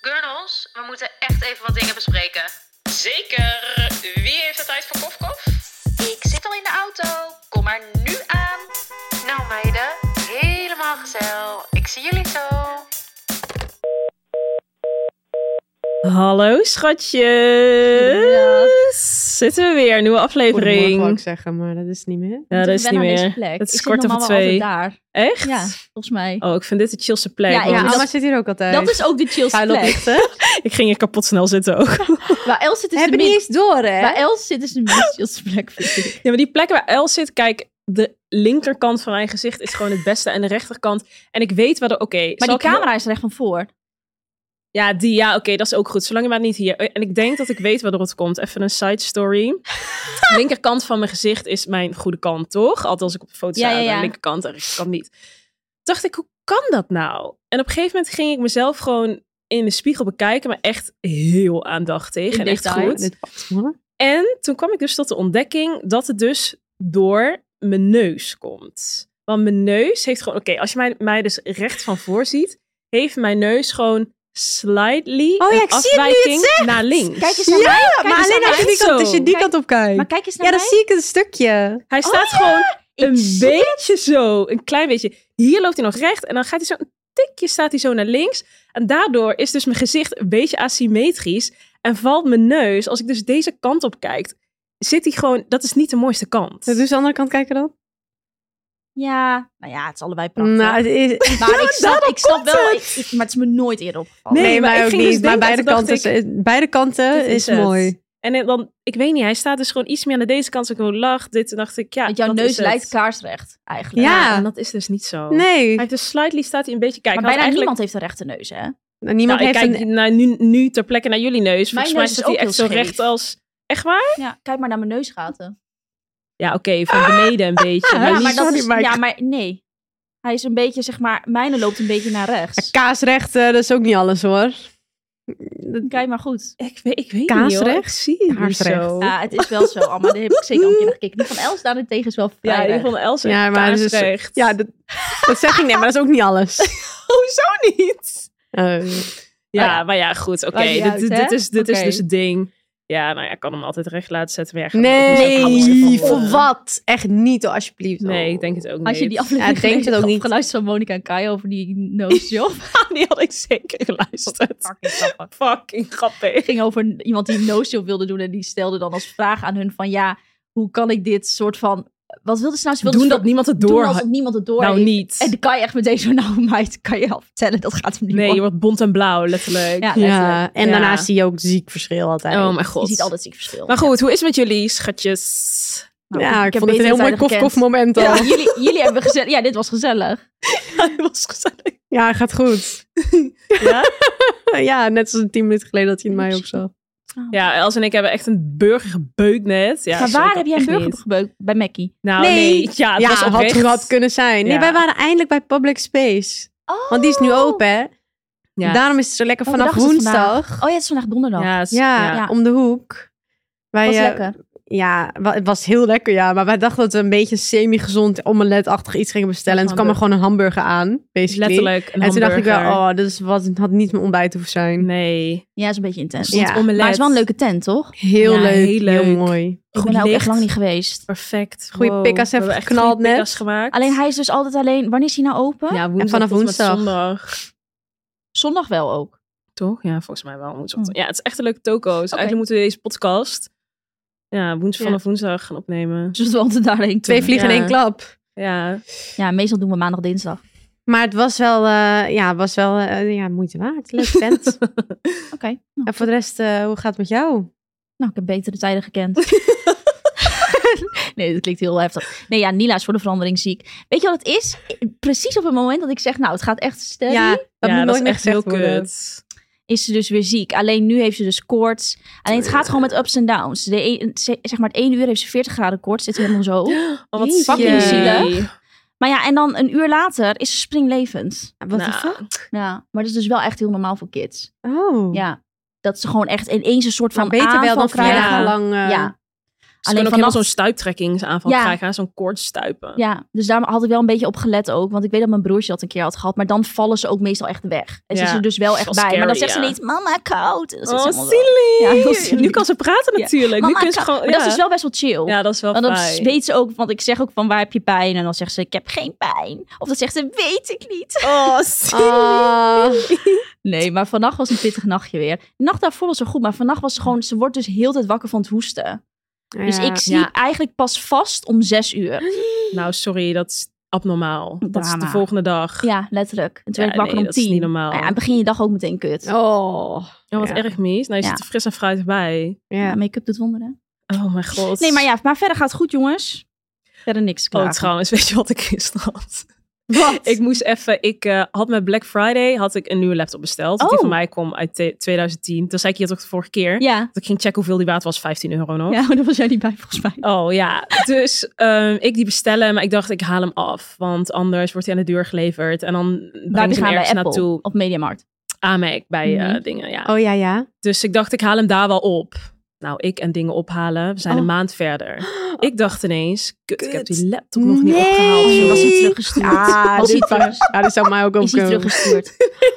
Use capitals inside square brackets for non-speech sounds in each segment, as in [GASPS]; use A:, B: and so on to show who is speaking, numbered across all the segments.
A: Jos, we moeten echt even wat dingen bespreken.
B: Zeker. Wie heeft de tijd voor kofkof?
A: Ik zit al in de auto. Kom maar nu aan. Nou meiden, helemaal gezellig. Ik zie jullie zo.
C: Hallo schatjes. Zitten we weer, nieuwe
D: Goedemorgen wou ik
C: aflevering.
D: zeggen, maar dat is niet meer.
C: Ja, dat is niet meer.
E: plek.
C: Het is
E: Ik zit
C: kwart over
E: normaal wel
C: twee.
E: altijd daar.
C: Echt?
E: Ja, volgens mij.
C: Oh, ik vind dit de chillste plek. Oh,
E: Ja,
C: want
E: maar
D: ja, Alma
E: Oh, dat-
D: zit hier ook altijd.
E: Dat is ook de chillste
D: Vuil op
E: plek.
D: licht, hè? We
C: Ik ging hier kapot snel zitten ook.
E: [LAUGHS] Waar Els zit is de
D: hebben niet
E: minst...
D: eens door, hè?
E: Waar Els zit is de minst chillste plek, vind ik.
C: Ja, maar die plek waar Els zit, kijk, de linkerkant van mijn gezicht is gewoon het beste en de rechterkant. En ik weet waar de. Oké,
E: Maar
C: zal
E: die
C: ik heel-
E: camera is er echt van voor.
C: Ja, die, ja, oké, dat is ook goed. Zolang je maar niet hier. En ik denk dat ik weet waardoor het komt. Even een side
E: [LAUGHS]
C: story. De linkerkant van mijn gezicht is mijn goede kant, toch? Althans, als ik op de foto
E: Ja,
C: sta,
E: ja, ja.
C: de linkerkant en rechterkant niet. Dacht ik, hoe kan dat nou? En op een gegeven moment ging ik mezelf gewoon in de spiegel bekijken, maar echt heel aandachtig
E: In
C: en echt
E: detail.
C: goed.
D: Dit past me.
C: En toen kwam ik dus tot de ontdekking dat het dus door mijn neus komt. Want mijn neus heeft gewoon, oké, als je mij, mij dus recht van voor ziet, heeft mijn neus gewoon slightly
D: Oh ja,
C: een
D: ik zie het nu je het
C: afwijking naar links.
E: Kijk eens naar mij.
D: Ja, maar
C: eens
D: alleen
C: naar
D: als je
C: mij.
D: die kant, als je die
E: Kijk-
D: kant op kijkt.
E: Maar kijk eens naar
D: ja, dan
E: mij.
D: zie ik een stukje.
C: Hij staat gewoon een beetje zo, een klein beetje. Hier loopt hij nog recht en dan gaat hij zo een tikje, staat hij zo naar links. En daardoor is dus mijn gezicht een beetje asymmetrisch en valt mijn neus, als ik dus deze kant op kijk, zit hij gewoon, dat is niet de mooiste kant.
D: Dus de andere kant kijken dan?
E: Ja, nou ja, het is allebei prachtig.
D: Nou, het is...
E: maar ik snap, ik snap wel, ik, ik- maar het is me nooit eerder opgevallen.
C: Nee,
D: [LAUGHS] Nee,
C: maar ik
D: maar ook
C: ging
D: niet.
C: dus
D: maar
C: denken,
D: beide
C: toen dacht
D: kanten, is- beide kanten
C: dit
D: is,
C: is het.
D: mooi.
C: En dan, ik weet niet, hij staat dus gewoon iets meer naar deze kant. Als ik gewoon lach, dit, toen dacht ik, ja,
E: Want jouw
C: dat
E: neus
C: is het.
E: lijkt kaarsrecht, eigenlijk.
D: Ja.
C: En dat is dus niet zo.
D: Nee,
C: Hij heeft dus slightly staat hij een beetje kijken.
E: Maar bijna niemand heeft een rechte neus, hè?
D: Nou, niemand
C: nou, ik
D: heeft
C: kijk
D: een...
C: naar, nu, nu ter plekke naar jullie neus. Volgens mij
E: neus is
C: staat hij
E: ook
C: echt zo
E: heel scheef.
C: recht als... Echt waar?
E: Ja, kijk maar naar mijn neusgaten.
C: Ja, oké, van beneden een beetje.
D: Ja,
C: maar
E: Ja,
C: niet-
E: maar dat
D: sorry,
E: is...
D: maar ik-
E: Ja, maar nee. Hij is een beetje, zeg maar... Mijne loopt een beetje naar rechts.
D: Kaasrecht, eh, dat is ook niet alles, hoor. Dat-
E: Kijk maar goed.
C: ik weet, ik weet niet hoor.
D: Kaasrecht?
C: Ik zie het niet
D: Kaarsrecht.
C: zo.
E: Ja, het is wel zo, Amma. Daar heb ik zeker al een keer naar gekeken. Die van Els daarentegen is wel vrij
C: Ja, die
E: recht.
C: van Els heeft
D: Ja, maar dat is-
C: kaasrecht.
D: Ja, dat, dat zeg ik niet, maar dat is ook niet [LAUGHS] alles.
C: hoezo niet? Ja,
D: Eh,
E: Oh ja.
C: maar ja, goed, oké.
E: Maakt niet
C: dit
E: uit,
C: dit,
E: hè?
C: dit is, dit is
E: Oké.
C: dus het ding. Ja, nou ja, ik kan hem altijd recht laten zetten. Maar ja, gaat ook niet zo knap zetten
D: Nee,
C: worden.
D: voor wat? Echt niet, hoor, alsjeblieft. Oh.
C: Nee, ik denk het ook niet.
E: Had je die
D: Ja,
E: aflevering
D: ik denk het ook niet.
E: geluisterd van Monica en Kai over die
C: [LAUGHS]
E: nosejob? [LAUGHS]
C: die had ik zeker geluisterd.
E: Fucking grappig.
C: Fucking grappig.
E: Het ging over iemand die een nosejob wilde doen en die stelde dan als vraag aan hun van ja, hoe kan ik dit soort van... Wat wilde ze nou? Ze wilde
C: Doen
E: ver-
C: dat niemand het
E: doen
C: door
E: als
C: had.
E: het niemand het door
C: Nou
E: heeft.
C: niet.
E: En dan kan je echt meteen zo, nou meid, kan je al vertellen, dat gaat hem niet
C: Nee, je
E: worden.
C: wordt bont en blauw, letterlijk.
E: Ja, letterlijk.
D: Ja, en
C: Ja.
D: daarnaast zie je ook ziek verschil altijd.
C: Oh mijn
E: Je
C: god.
E: ziet altijd ziek verschil.
C: Maar goed, hoe is het met jullie, schatjes?
E: Nou,
D: ja, ik,
E: heb
D: vond het een heel
E: betere
D: mooi
E: tijden gekend.
D: kof-kof-moment al.
E: Ja,
D: Ja.
E: jullie, jullie hebben gezellig... Ja, dit was gezellig.
C: [LAUGHS] Ja, was gezellig.
D: gaat goed.
C: Ja?
D: [LAUGHS] ja, net zoals tien minuten geleden dat hij in mij ook zag.
C: Ja, Els en ik hebben echt een burger gebeukt net. Ja,
E: maar
C: sorry,
E: waar
C: ik
E: heb jij een
C: echt
E: burger
C: niet.
E: gebeukt? Bij Mackie?
C: Nou, nee.
D: Nee.
C: Ja, het
D: Ja,
C: was
D: had
C: oprecht.
D: gehad kunnen zijn. Nee,
C: Ja.
D: wij waren eindelijk bij Public Space.
E: Oh.
D: Want die is nu open, hè?
C: Ja.
D: Daarom is het zo lekker
E: Welke
D: vanaf
E: dag is het vandaag?
D: woensdag.
E: Oh ja, het is vandaag donderdag.
C: Ja, het is-
D: Ja,
C: ja.
D: om de hoek. Wij,
E: was
D: eh,
E: lekker.
D: Ja, wa- het was heel lekker, ja. Maar wij dachten dat we een beetje semi-gezond omeletachtig iets gingen bestellen. En toen kwam er gewoon een hamburger aan, basically.
C: letterlijk een
D: En toen dacht ik wel,
C: hamburger.
D: oh, dit is wat, het had niet mijn ontbijt hoeven zijn.
C: oh, Nee.
E: Ja, is een beetje intens.
D: Ja.
C: Omelet.
E: Maar het is wel een leuke tent, toch?
D: Heel,
C: Ja,
D: leuk,
C: heel
D: heel
C: leuk.
D: mooi.
E: Ik
C: Goed
E: ben daar ook
C: licht.
E: echt lang niet geweest.
C: Perfect.
D: Goeie
C: Wow. We
D: pikkas
C: hebben
D: even
C: echt
D: geknald
C: goede pikkas
D: net.
C: gemaakt.
E: Alleen hij is dus altijd alleen... Wanneer is hij nou open?
C: ja, woensdag
D: vanaf
C: tot en met
D: woensdag.
C: zondag.
E: Zondag wel ook.
C: Toch? Ja, volgens mij wel. Woensdag.
E: Hm.
C: Ja, het is echt een leuke toko. Dus eigenlijk moeten we deze podcast ja, woensdag
D: Ja.
C: vanaf woensdag gaan opnemen.
E: Dus we altijd daarheen.
D: Twee
E: toen.
D: vliegen in
C: Ja.
D: één klap.
C: Ja,
E: Ja, meestal doen we maandag, dinsdag.
D: Maar het was wel, eh, ja, was wel eh, ja, moeite waard. Leuk [LAUGHS] tent.
E: Oké. Nou,
D: en voor de rest, eh, hoe gaat het met jou?
E: nou, ik heb betere tijden gekend. nee, dat klinkt heel heftig. Nee, ja, Nila is voor de verandering ziek. Weet je wat het is? Precies op het moment dat ik zeg, nou, het gaat echt steady.
D: Ja, dat
C: ja,
D: moet
C: dat
D: nooit
C: is
D: meer
C: echt heel
D: gezegd worden.
C: kut.
E: is ze dus weer ziek. Alleen nu heeft ze dus koorts. Alleen het gaat gewoon met ups en downs. De een- ze- zeg maar, het één uur heeft ze 40 graden koorts. Zit helemaal zo.
C: Oh, wat
D: Jeetje.
C: fucking zielig. Nou,
E: Zielig. Maar ja, en dan een uur later is ze springlevend.
D: Wat
C: Nou,
D: de fuck?
E: Ja. Maar dat is dus wel echt heel normaal voor kids.
D: Oh.
E: Ja. Dat ze gewoon echt ineens een soort
D: Maar
E: van
D: beter wel
E: aanval
D: dan
E: krijgen.
D: vrijdag lang. eh,
E: Ja.
C: Ze kunnen ook
E: vanaf-
C: helemaal zo'n stuiptrekkingsaanval
E: Ja.
C: krijgen. hè, Zo'n kort stuipen.
E: Ja, dus daar had ik wel een beetje op gelet ook. Want ik weet dat mijn broertje dat een keer had gehad. Maar dan vallen ze ook meestal echt weg. En ze
C: Ja,
E: is er dus wel echt bij.
C: wel
E: maar dan
C: scary,
E: zegt ze
C: ja.
E: niet, mama koud. En dan zit ze
C: Oh,
E: helemaal zo, Ja,
C: silly.
E: heel silly.
C: nu kan ze praten
E: Ja.
C: natuurlijk. Nu
E: "Mama,
C: kunnen ze
E: koud."
C: gewoon...
E: Maar
C: ja.
E: dat is dus wel best wel chill.
C: Ja, dat is wel
E: Want dan
C: fijn.
E: weet ze ook, want ik zeg ook van waar heb je pijn? En dan zegt ze, ik heb geen pijn. Of dan zegt ze, weet ik niet.
C: Oh, silly.
D: Oh. [LAUGHS]
F: Ah,
E: Nee, maar vannacht was een pittig nachtje weer. De nacht daarvoor was ze goed, maar vannacht was ze gewoon... Ze wordt dus heel de tijd wakker van het hoesten. Dus
F: ja.
E: ik sliep eigenlijk pas vast om zes uur.
C: Nou, sorry, dat is abnormaal. Dat is de
E: Drama.
C: volgende dag.
E: Ja, letterlijk. En toen
C: Ja,
E: werd ik wakker
C: nee,
E: om
C: dat is
E: tien.
C: niet normaal.
E: Nou ja, begin je dag ook meteen kut.
F: Oh.
C: Oh, wat
F: Ja.
C: erg mis. Nou, je
E: Ja.
C: zit er fris en fruit bij.
E: Ja,
F: Ja.
E: make-up doet wonderen.
C: Oh mijn god.
E: Nee, maar ja, maar verder gaat het goed, jongens. Verder niks klaar.
C: Oh, trouwens, weet je wat ik gisteren had? [LAUGHS] Ik moest even... Ik eh, had met Black Friday had ik een nieuwe laptop besteld. Die
E: Oh.
C: van mij kwam uit te- 2010. Toen zei ik je toch de vorige keer.
E: Ja.
C: Dat ik ging checken hoeveel die waard was. 15 euro nog.
E: ja, [LAUGHS] maar daar was jij niet bij, volgens mij.
C: Oh ja, dus ehm, ik die bestellen, maar ik dacht ik haal hem af, want anders wordt hij aan de deur geleverd en dan
E: Waar
C: brengt ze
E: gaan
C: hem ergens
E: bij Apple
C: naartoe.
E: of Mediamarkt.
C: Amek bij eh,
E: Mhm.
C: dingen, ja.
F: Oh ja, ja.
C: Dus ik dacht ik haal hem daar wel op. Nou, ik en dingen ophalen, we zijn
E: Oh.
C: een maand verder.
E: [GASPS]
C: Ik dacht ineens, kut, ik heb die laptop nog niet
F: Nee.
C: opgehaald.
E: Oh,
C: Zo
E: was
C: was
E: hij
C: het
E: teruggestuurd?
D: [LAUGHS]
F: Ah,
E: was hij
F: dit
E: terug?
F: Ja, dat zou mij ook
E: Is hij
F: opkomen.
E: teruggestuurd?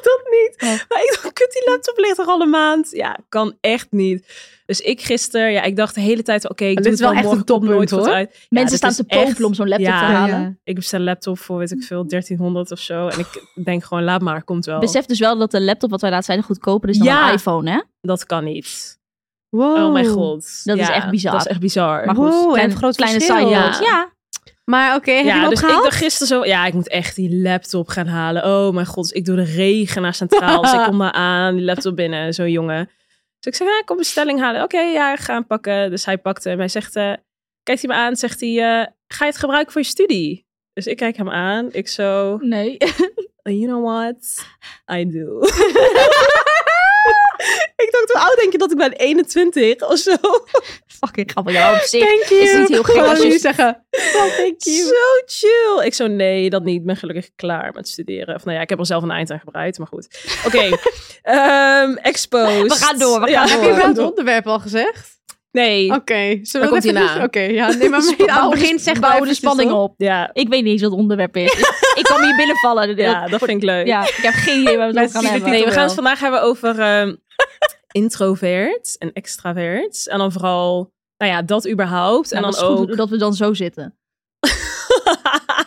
C: dat niet.
E: Oh.
C: Maar ik dacht, kut, die laptop ligt er al een maand. Ja, kan echt niet. Dus ik gisteren, ja, ik dacht de hele tijd, oké, ik
F: Maar dit
C: doe het
F: is wel echt
C: morgen,
F: een
C: komt
F: toppunt,
C: nooit wat
F: hoor.
C: uit. [LAUGHS] Ja,
E: Mensen
C: dit
E: staan
C: is
E: te popelen
C: echt-
E: om zo'n laptop
C: Ja.
E: te halen.
C: Ik bestel een laptop voor, weet ik veel, 1300 of zo. En ik denk gewoon, laat maar, komt wel.
E: Besef dus wel dat de laptop wat wij laatst zeiden goedkoper is dan
C: Ja.
E: een iPhone, hè?
C: Dat kan niet.
F: Wow.
C: Oh mijn god.
E: Dat is echt bizar.
C: Dat is echt bizar.
E: Maar goed,
F: Wow, en
E: klein,
F: het groot
E: kleine
F: verschil.
E: side
C: Ja.
E: note. Ja.
F: Maar oké, heb je
C: ja,
F: hem
C: dus ik
F: opgehaald?
C: dacht gisteren zo, ja, ik moet echt die laptop gaan halen. Oh mijn god, dus ik doe de regen naar centraal. dus ik kom daar aan, die laptop binnen, zo'n jongen. Dus ik zeg, ja, kom bestelling halen. Oké, ja, ik ga hem pakken. Dus hij pakte hem. Hij zegt, eh, kijkt hij me aan, zegt hij, eh, ga je het gebruiken voor je studie? Dus ik kijk hem aan, ik zo,
E: Nee. [LAUGHS]
C: you know what, I do. [LAUGHS] ik dacht, hoe oud denk je dat ik ben? 21 of zo?
E: Fucking grappig. Ja, op zich.
F: Thank you.
E: Is niet heel gek
F: Gewoon
E: [LAUGHS] als je-
F: nu zeggen. Oh, thank you.
C: Zo chill. Ik zo, nee, dat niet. Ik ben gelukkig klaar met studeren. Of nou ja, ik heb er zelf een eind aan gebreid, maar goed. Oké,
E: [LAUGHS]
C: Ehm exposed.
E: We gaan door, we gaan
F: Heb
E: door.
F: je
C: Oh.
F: überhaupt het onderwerp al gezegd?
C: Nee,
F: Oké. Zullen we
C: Daar
F: dat
C: komt
F: even
C: hierna.
F: doen? Oké, ja.
C: [LAUGHS]
F: Neem maar mee. Aan het begin zeg maar
D: oh,
E: bouwen de
F: eventjes
E: spanning
F: op.
E: op.
C: ja,
E: Ik weet niet eens wat het onderwerp is. Ik- ik kwam hier binnenvallen. dus
C: ja, dat vind ik leuk.
E: ja, ik heb geen idee waar we het
F: Mensen zien
E: over gaan
F: de
E: hebben.
C: Nee, we gaan het vandaag hebben over ehm introvert en extravert. En dan vooral, nou ja, dat überhaupt. en dan
E: Nou, dat is
C: ook... [LAUGHS]
E: goed dat we dan zo zitten.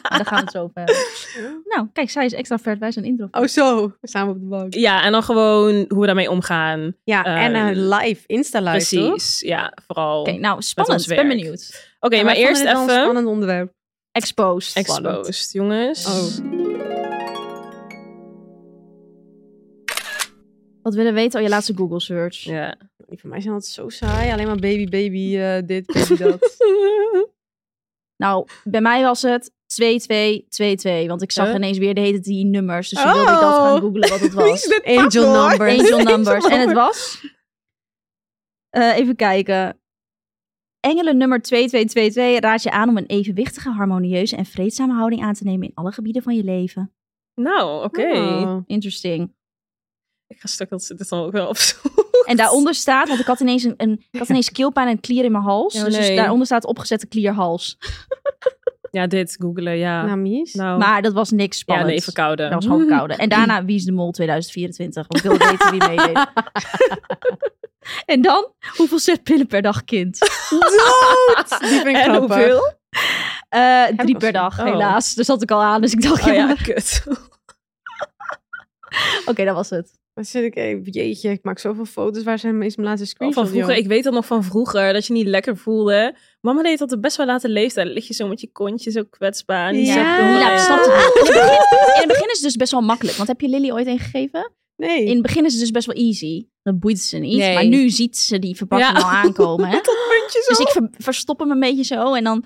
E: Daar gaan we het zo over hebben. Nou, kijk, zij is extravert, wij zijn introvert.
F: Oh zo, samen op de bank.
C: ja, en dan gewoon hoe we daarmee omgaan.
F: Ja, en
C: Ehm,
F: een live, Insta-live toch?
C: Precies, ja, vooral.
E: Oké,
C: Oké,
E: nou, spannend.
C: ons
E: Ben
C: werk.
E: benieuwd.
F: Ja,
C: maar
F: wij
C: eerst
F: vonden dit wel Een
C: even
F: spannend onderwerp.
E: Exposed.
F: spannend.
C: exposed, jongens.
F: Oh.
E: Wat willen weten al je laatste Google search?
C: Ja.
F: Die van mij zijn altijd zo saai. Alleen maar baby, baby, eh, dit,
C: [LAUGHS]
F: baby,
E: [LAUGHS]
F: dat.
E: Nou, bij mij was het 2222, want ik zag
C: Huh?
E: ineens weer de hele die nummers. Dus toen wilde ik dat gaan
F: Oh.
E: googlen wat het
F: Wie is
E: was.
F: dit Angel
E: Angel
F: numbers.
E: Angel numbers. En het
C: Oh.
E: was... Eh, even kijken. Engelen nummer 2222 raadt je aan om een evenwichtige, harmonieuze en vreedzame houding aan te nemen in alle gebieden van je leven.
C: Nou, oké.
F: Oh.
E: Interesting.
C: Ik ga stuk dat ze dit dan ook wel opzoeken.
E: En daaronder staat, want ik had ineens, een, een, ik had ineens keelpijn en klier in mijn hals.
C: Oh,
E: dus, dus
C: nee.
E: daaronder staat opgezette klierhals.
C: Ja, dit googelen, ja. Nou,
F: Nou, mies.
E: Maar dat was niks
C: ja,
E: spannend.
C: nee, verkouden.
E: Dat was gewoon verkouden. En daarna Wie is de Mol 2024. Want ik wil weten wie meedeed. [LAUGHS] en dan, hoeveel zetpillen per dag kind?
F: Die vind ik
C: [LAUGHS] En
F: grappig.
C: hoeveel?
E: [LAUGHS] Eh,
F: ik
E: drie
F: al
E: per
F: zo.
E: dag,
C: Oh.
E: helaas. Dus had ik al aan. Dus ik dacht,
C: Oh
E: ja,
C: ja, kut.
E: [LAUGHS] oké, dat was het.
F: Dan zit ik, eh, jeetje, ik maak zoveel foto's. Waar zijn meest mijn laatste screenshots?
C: Van vroeger,
F: joh?
C: ik weet dat nog van vroeger, dat je niet lekker voelde. Mama deed dat op best wel late leeftijd. Dan lig je zo met je kontje zo kwetsbaar. en je
F: Ja.
C: zegt,
E: Lila,
C: "Oh,
E: ik Nou, snap het niet. In het begin- In het begin is het dus best wel makkelijk. Want heb je Lily ooit een gegeven?
F: Nee.
E: In het begin is het dus best wel easy. Dan boeit ze niet.
C: Nee.
E: Maar nu ziet ze die verpakking
C: Ja.
E: al aankomen. [LAUGHS] Hè?
C: puntje zo."
E: Dus ik ver- verstop hem een beetje zo. En dan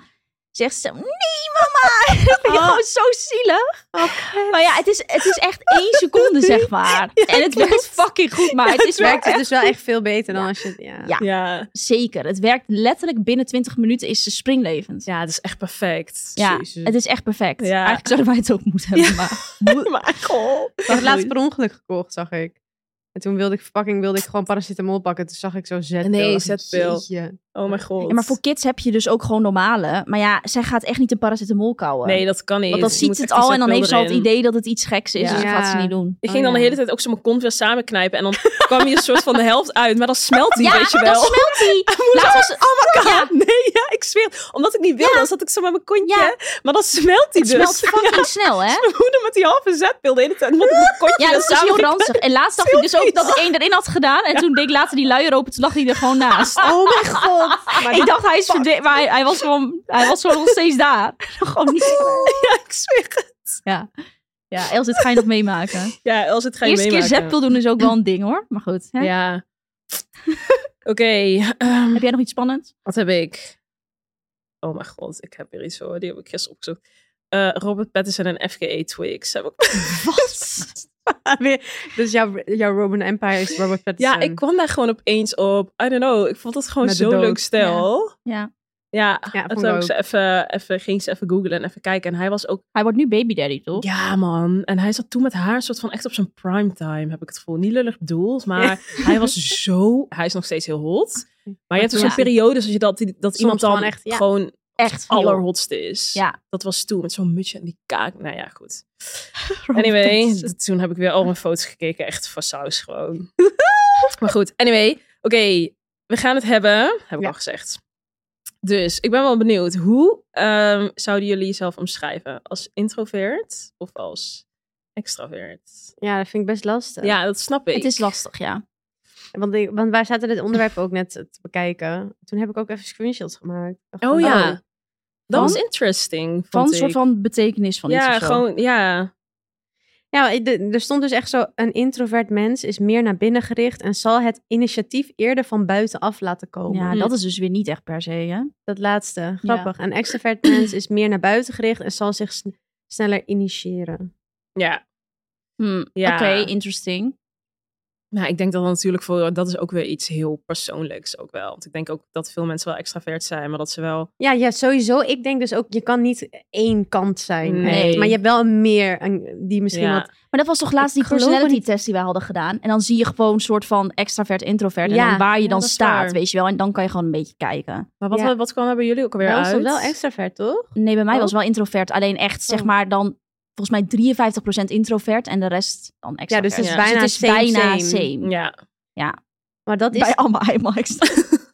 E: zegt ze, nee mama. [LAUGHS] dat vind ik gewoon zo zielig. maar ja, het is, het is echt [LAUGHS] één seconde, zeg maar. en het werkt fucking goed. Maar het,
F: het
E: is
C: [LAUGHS]
F: werkt
E: werkt
F: het dus wel echt veel beter dan als je... Ja.
E: Ja.
C: Ja.
E: zeker. Het werkt letterlijk binnen 20 minuten is ze springlevend.
C: ja, het is echt perfect.
E: Ja,
C: Jezus.
E: het is echt perfect.
C: Ja.
E: Eigenlijk zouden wij het ook moeten hebben. Maar...
C: Maar goh.
F: Ik heb het laatst per ongeluk gekocht, zag ik. En toen wilde ik verpakking, wilde ik gewoon paracetamol pakken. Toen zag ik zo zetpil.
C: Nee,
F: Dacht ik,
C: zetpil.
F: jeetje.
C: Oh mijn god.
E: Ja, maar voor kids heb je dus ook gewoon normale. Maar ja, zij gaat echt niet een paracetamol kauwen.
C: Nee, dat kan niet.
E: Want dan
C: Je
E: ziet
C: moet
E: ze het
C: echt
E: al
C: die
E: en dan heeft ze al het
C: zakdoek erin.
E: idee dat het iets geks is.
F: Ja.
E: Dus dat gaat ze niet doen.
C: Ik ging
F: Oh,
C: dan de
F: ja.
C: hele tijd ook zo mijn kont weer samenknijpen. En dan [LAUGHS] kwam je een soort van de helft uit. Maar dan smelt die, weet je wel. [LAUGHS]
E: dan smelt [LAUGHS] hij. Laatst was het, oh my god. Ja,
C: Nee, ja, ik zweer. het. Omdat ik niet wilde, dan zat ik zo met mijn kontje.
E: Ja.
C: Maar dan smelt die
E: het
C: dus.
E: smelt
C: [LAUGHS]
E: fucking snel, hè?
C: Mijn moeder met die halve zetpil de hele tijd. Omdat ik mijn kontje
E: Ja,
C: weer
E: dat is dus heel
C: samenknijp.
E: ranzig. En laatst dacht ik dus ook dat ik één erin had gedaan. En toen deed ik later die luier open, toen lag hij er
C: [LAUGHS]
E: gewoon naast.
F: Oh mijn god. Maar
E: ik dacht, hij is verdwenen, maar hij, hij was gewoon, hij was gewoon nog steeds
C: [LAUGHS]
E: daar. gewoon [LAUGHS] niet.
C: Ja, ik zweer. het.
E: Ja. Ja, Els, dit ga je nog meemaken.
C: Ja, Els, het ga je
E: Eerste keer
C: meemaken.
E: zetpil doen is ook wel een ding, hoor. Maar goed. Hè?
C: Ja. Oké, ehm,
E: Heb jij nog iets spannends?
C: wat heb ik? Oh mijn god, ik heb weer iets hoor. Die heb ik gisteren opgezocht. Eh, Robert Pattinson en E FKA Twigs. Heb ik...
E: Wat?
F: weer- dus jouw, jouw Roman Empire is Robert Pattinson.
C: [LAUGHS] Ja, ik kwam daar gewoon opeens op. I don't know. Ik vond dat gewoon
F: Met de
C: zo'n
F: dood.
C: leuk stel.
E: Ja.
C: Ja,
F: Ja,
C: en
F: vond
C: toen
F: ik
C: heb ik
F: ook.
C: ze even, even, ging ze even googlen en even kijken. En hij was ook,
E: Hij wordt nu baby daddy, toch?
C: ja man. En hij zat toen met haar een soort van echt op zijn primetime, heb ik het gevoel. Niet lullig
F: [LAUGHS]
C: bedoeld, maar hij was zo, hij is nog steeds heel hot. Maar je hebt dus
E: Ja.
C: zo'n periodes als je dat, dat iemand dan
F: gewoon
C: echt,
F: echt, ja.
C: gewoon
E: Echt veel.
C: allerhotst is.
E: Ja.
C: Dat was toen, met zo'n mutsje en die kaak. Nou ja, goed.
E: [LAUGHS] Robert
C: Anyway,
E: Pattinson.
C: d- toen heb ik weer al mijn foto's gekeken. Echt van saus
E: [LAUGHS]
C: gewoon. maar goed, anyway. Oké, we gaan het hebben. Heb ik
F: Ja.
C: al gezegd. Dus ik ben wel benieuwd. Hoe ehm, zouden jullie jezelf omschrijven? Als introvert of als extravert?
F: Ja, dat vind ik best lastig.
C: Ja, dat snap ik.
E: Het is lastig, ja.
F: Want, ik, want wij zaten dit onderwerp ook net te bekijken. Toen heb ik ook even screenshots gemaakt.
C: Oh ja. Dat
E: Van?
C: was interesting, vond
E: Van een
C: ik.
E: soort van betekenis van iets
C: ja,
E: of zo.
C: gewoon, ja.
F: Ja, ik- de- er stond dus echt zo, een introvert mens is meer naar binnen gericht en zal het initiatief eerder van buitenaf laten komen.
E: Ja,
C: Mm.
E: dat is dus weer niet echt per se, hè?
F: Dat laatste, grappig. Een extrovert mens is meer naar buiten gericht en zal zich sn- sneller initiëren.
C: Ja,
E: Hm,
C: Ja.
E: Oké, interesting.
C: Nou, ik denk dat dat natuurlijk voor dat is ook weer iets heel persoonlijks ook wel. Want ik denk ook dat veel mensen wel extravert zijn, maar dat ze wel.
F: Ja, ja, sowieso. Ik denk dus ook, je kan niet één kant zijn.
C: Nee.
F: echt. Maar je hebt wel een meer een, die misschien
C: Ja.
F: wat...
E: Maar dat was toch laatst
F: Ik
E: die
F: geloof het
E: personality test die wij hadden gedaan. En dan zie je gewoon een soort van extravert, introvert. en
F: Ja,
E: dan waar je
C: ja,
E: dan
C: dat is
E: staat,
C: waar.
E: weet je wel. En dan kan je gewoon een beetje kijken.
C: Maar wat,
F: Ja.
C: wat kwam er bij jullie ook alweer
F: Wel, is dat
C: uit?
F: wel extravert, toch?
E: Nee, bij mij
F: Oh.
E: was wel introvert. Alleen echt, zeg
F: Oh.
E: maar, dan volgens mij 53% introvert en de rest dan
F: Ja,
E: extravert.
F: dus het is
C: Ja.
F: bijna
E: het is
F: same,
E: bijna
F: same.
E: same.
C: Ja.
F: Maar dat is...
E: Bij allemaal helemaal
F: [LAUGHS]
E: extravert.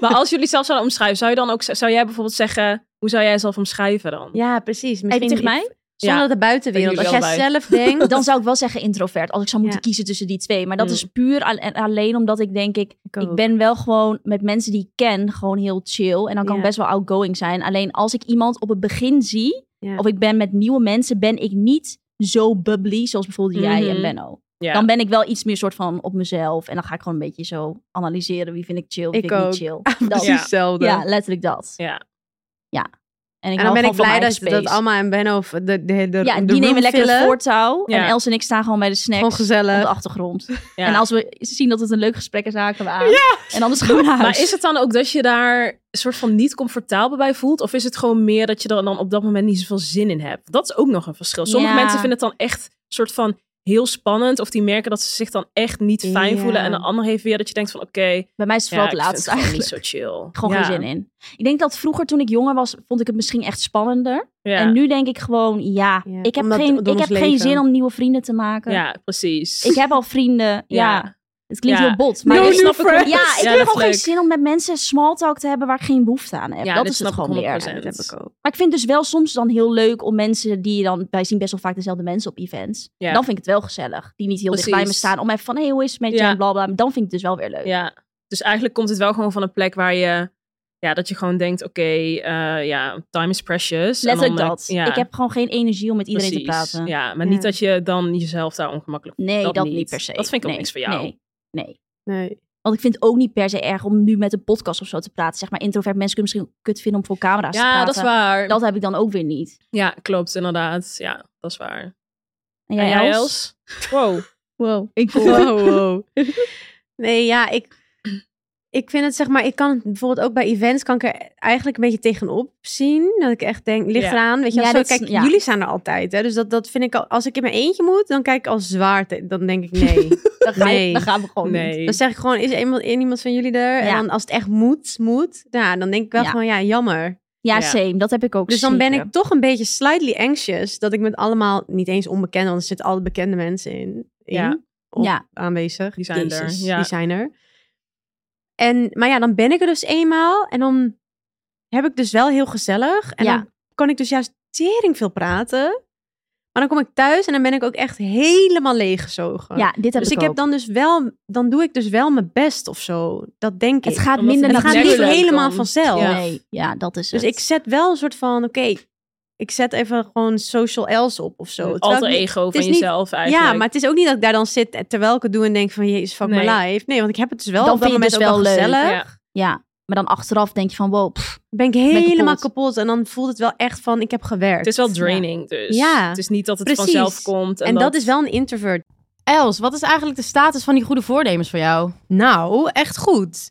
C: maar als jullie zelf zouden omschrijven, zou je dan ook zou jij bijvoorbeeld zeggen, hoe zou jij jezelf omschrijven dan?
F: Ja, precies.
E: Even
F: Misschien
E: tegen mij?
F: Zonder
C: Ja.
F: dat de buitenwereld.
C: Ben
F: Als
C: jullie
F: jij
C: allebei.
F: zelf
E: [LAUGHS]
F: denkt...
E: Dan zou ik wel zeggen introvert, als ik zou moeten
F: Ja.
E: kiezen tussen die twee. Maar dat
C: Mm.
E: is puur al- en alleen omdat ik denk ik,
F: Ik
E: ik
F: ook.
E: ben wel gewoon met mensen die ik ken gewoon heel chill. En dan kan ik
F: Ja.
E: best wel outgoing zijn. Alleen als ik iemand op het begin zie,
F: Ja.
E: of ik ben met nieuwe mensen, ben ik niet zo bubbly zoals bijvoorbeeld jij
C: Mhm.
E: en Benno.
C: Ja.
E: Dan ben ik wel iets meer soort van op mezelf. En dan ga ik gewoon een beetje zo analyseren. Wie vind ik chill, wie
F: Ik
E: vind ik
F: ook. [LAUGHS]
E: niet chill. Dat.
C: Ja.
E: Ja.
F: hetzelfde.
E: letterlijk dat.
C: Ja.
E: En, ik
F: en
E: hou
F: dan ben
E: gewoon
F: ik
E: van
F: blij
E: mijn
F: dat,
E: eigen
F: dat
E: space.
F: allemaal en Benno of de, de, de, de
E: Ja, die
F: room
E: nemen lekker
F: vullen.
E: het voortouw.
C: Ja.
E: En Els en ik staan gewoon bij de snacks.
F: Gewoon gezellig.
E: Op de achtergrond.
C: Ja.
E: En als we zien dat het een leuk gesprek is, haken we aan. En anders gewoon naar huis.
C: [LAUGHS] Maar is het dan ook dat je daar een soort van niet comfortabel bij voelt? Of is het gewoon meer dat je er dan op dat moment niet zoveel zin in hebt? Dat is ook nog een verschil. Sommige
E: Ja.
C: mensen vinden het dan echt een soort van heel spannend. Of die merken dat ze zich dan echt niet fijn
F: Ja.
C: voelen. En de ander heeft weer dat je denkt van oké,
E: Bij mij is het vooral
C: ja,
E: het
C: ik vind
E: laatste
C: het gewoon
E: eigenlijk.
C: niet zo chill.
E: Gewoon
C: ja.
E: geen zin in. Ik denk dat vroeger toen ik jonger was, vond ik het misschien echt spannender.
C: Ja.
E: En nu denk ik gewoon, ja,
F: Ja,
E: ik heb,
F: omdat-
E: geen,
F: door
E: ik
F: ons
E: heb geen
F: leven.
E: zin om nieuwe vrienden te maken.
C: Ja, precies.
E: Ik heb al
C: [LAUGHS]
E: vrienden. Ja, het klinkt
C: Ja.
E: heel bot. Maar
C: No
E: ik
C: new
E: snap het wel.
C: friends.
E: Ja, ik
C: [LAUGHS] Ja,
E: heb
C: dat
E: gewoon geen
C: leuk.
E: zin om met mensen small talk te hebben waar ik geen behoefte aan heb.
C: Ja,
E: dat
C: dit
E: is het
C: snap ik
E: gewoon meer.
C: 100%.
F: dat heb ik ook.
E: Maar ik vind het dus wel soms dan heel leuk om mensen die je dan... Wij zien best wel vaak dezelfde mensen op events.
C: Ja.
E: Dan vind ik het wel gezellig. Die niet heel dicht bij me
C: Precies.
E: staan. Om even van, hey, hoe is het met je?
C: Ja.
E: En bla, bla. Dan vind ik het dus wel weer leuk.
C: Ja. Dus eigenlijk komt het wel gewoon van een plek waar je... Ja, dat je gewoon denkt, oké, eh, ja, time is precious. En
E: Letterlijk
C: dan, eh,
E: dat.
C: Ja,
E: Ik heb gewoon geen energie om met iedereen
C: precies.
E: te praten.
C: Ja, maar
F: Ja.
C: niet dat je dan jezelf daar ongemakkelijk...
E: Nee,
C: Dat
E: dat, niet.
C: niet.
E: per se.
C: Dat vind ik ook
E: Nee,
C: niks voor jou.
E: Nee, nee.
F: Nee.
E: Want ik vind het ook niet per se erg om nu met een podcast of zo te praten. Zeg maar, introvert mensen kunnen misschien kut vinden om voor camera's te
C: Ja,
E: praten.
C: dat is waar.
E: Dat heb ik dan ook weer niet.
C: Ja, klopt, inderdaad. Ja, dat is waar.
E: En jij, Els?
C: Wow.
E: Wow. Ik
C: [LAUGHS]
D: [LAUGHS]
F: Wow, wow. nee, ja, ik...
D: ik vind het zeg maar, ik kan het bijvoorbeeld ook bij events kan ik er eigenlijk een beetje tegenop zien. Dat ik echt denk, ligt
C: Ja.
D: eraan. Weet je, als
E: Ja,
D: zo,
E: dat is-
D: kijk,
E: ja.
D: jullie zijn er altijd. Hè, dus dat, dat vind ik al, als ik in mijn eentje moet, dan kijk ik al zwaar. te- dan denk ik
E: [LAUGHS]
D: nee.
E: Dan, ga je-
D: Nee.
E: dan gaan we gewoon
C: [LAUGHS]
E: niet.
C: Nee.
D: dan zeg ik gewoon, is er iemand, iemand van jullie er? En
E: Ja.
D: dan als het echt moet, moet. Ja, dan denk ik wel
E: Ja.
D: gewoon, ja, jammer.
E: Ja,
C: Ja.
E: same. Dat heb ik ook
D: Dus dan ben
E: zeker.
D: ik toch een beetje slightly anxious. Dat ik met allemaal, niet eens onbekend, want er zitten alle bekende mensen in. in
C: Ja.
D: op-
E: Ja.
D: Aanwezig.
C: Die zijn er,
D: Jezus,
C: ja.
D: Die zijn er. En, maar ja, dan ben ik er dus eenmaal. En dan heb ik dus wel heel gezellig. En
E: Ja.
D: dan kan ik dus juist tering veel praten. Maar dan kom ik thuis en dan ben ik ook echt helemaal
C: Oh,
D: leeggezogen.
E: Ja, dit heb
D: dus
E: ik,
D: ik, heb
E: ook.
D: dan dus wel, dan doe ik dus wel mijn best of zo. Dat denk
E: Het
D: ik.
E: gaat
C: Omdat
E: minder
C: het
D: het gaat niet
C: Natuurlijk
E: natuurlijk.
C: dan.
D: helemaal vanzelf.
C: Ja.
E: Nee, ja, dat is het.
D: Dus ik zet wel een soort van, oké, ik zet even gewoon social else op of zo.
C: Een
D: Terwijl ik
C: alter
D: niet-
C: ego
D: het is
C: van
D: niet-
C: jezelf eigenlijk.
D: ja, maar het is ook niet dat ik daar dan zit eh, terwijl ik het doe en denk van, jezus, fuck
C: Nee.
D: my life. Nee, want ik heb het dus wel
E: Dan
D: op dat
E: vind je
D: moment
E: het
D: ook
E: dus
D: wel
E: wel leuk.
D: gezellig.
C: Ja.
E: Ja, maar dan achteraf denk je van wow, pff,
D: Ben ik helemaal
E: kapot.
D: kapot. En dan voelt het wel echt van, ik heb gewerkt.
C: Het is wel draining, dus
D: Ja.
C: het is niet dat het
D: Precies.
C: vanzelf komt. En,
D: en dat is wel een introvert.
G: Els, wat is eigenlijk de status van die goede voornemens voor jou?
D: Nou, echt goed.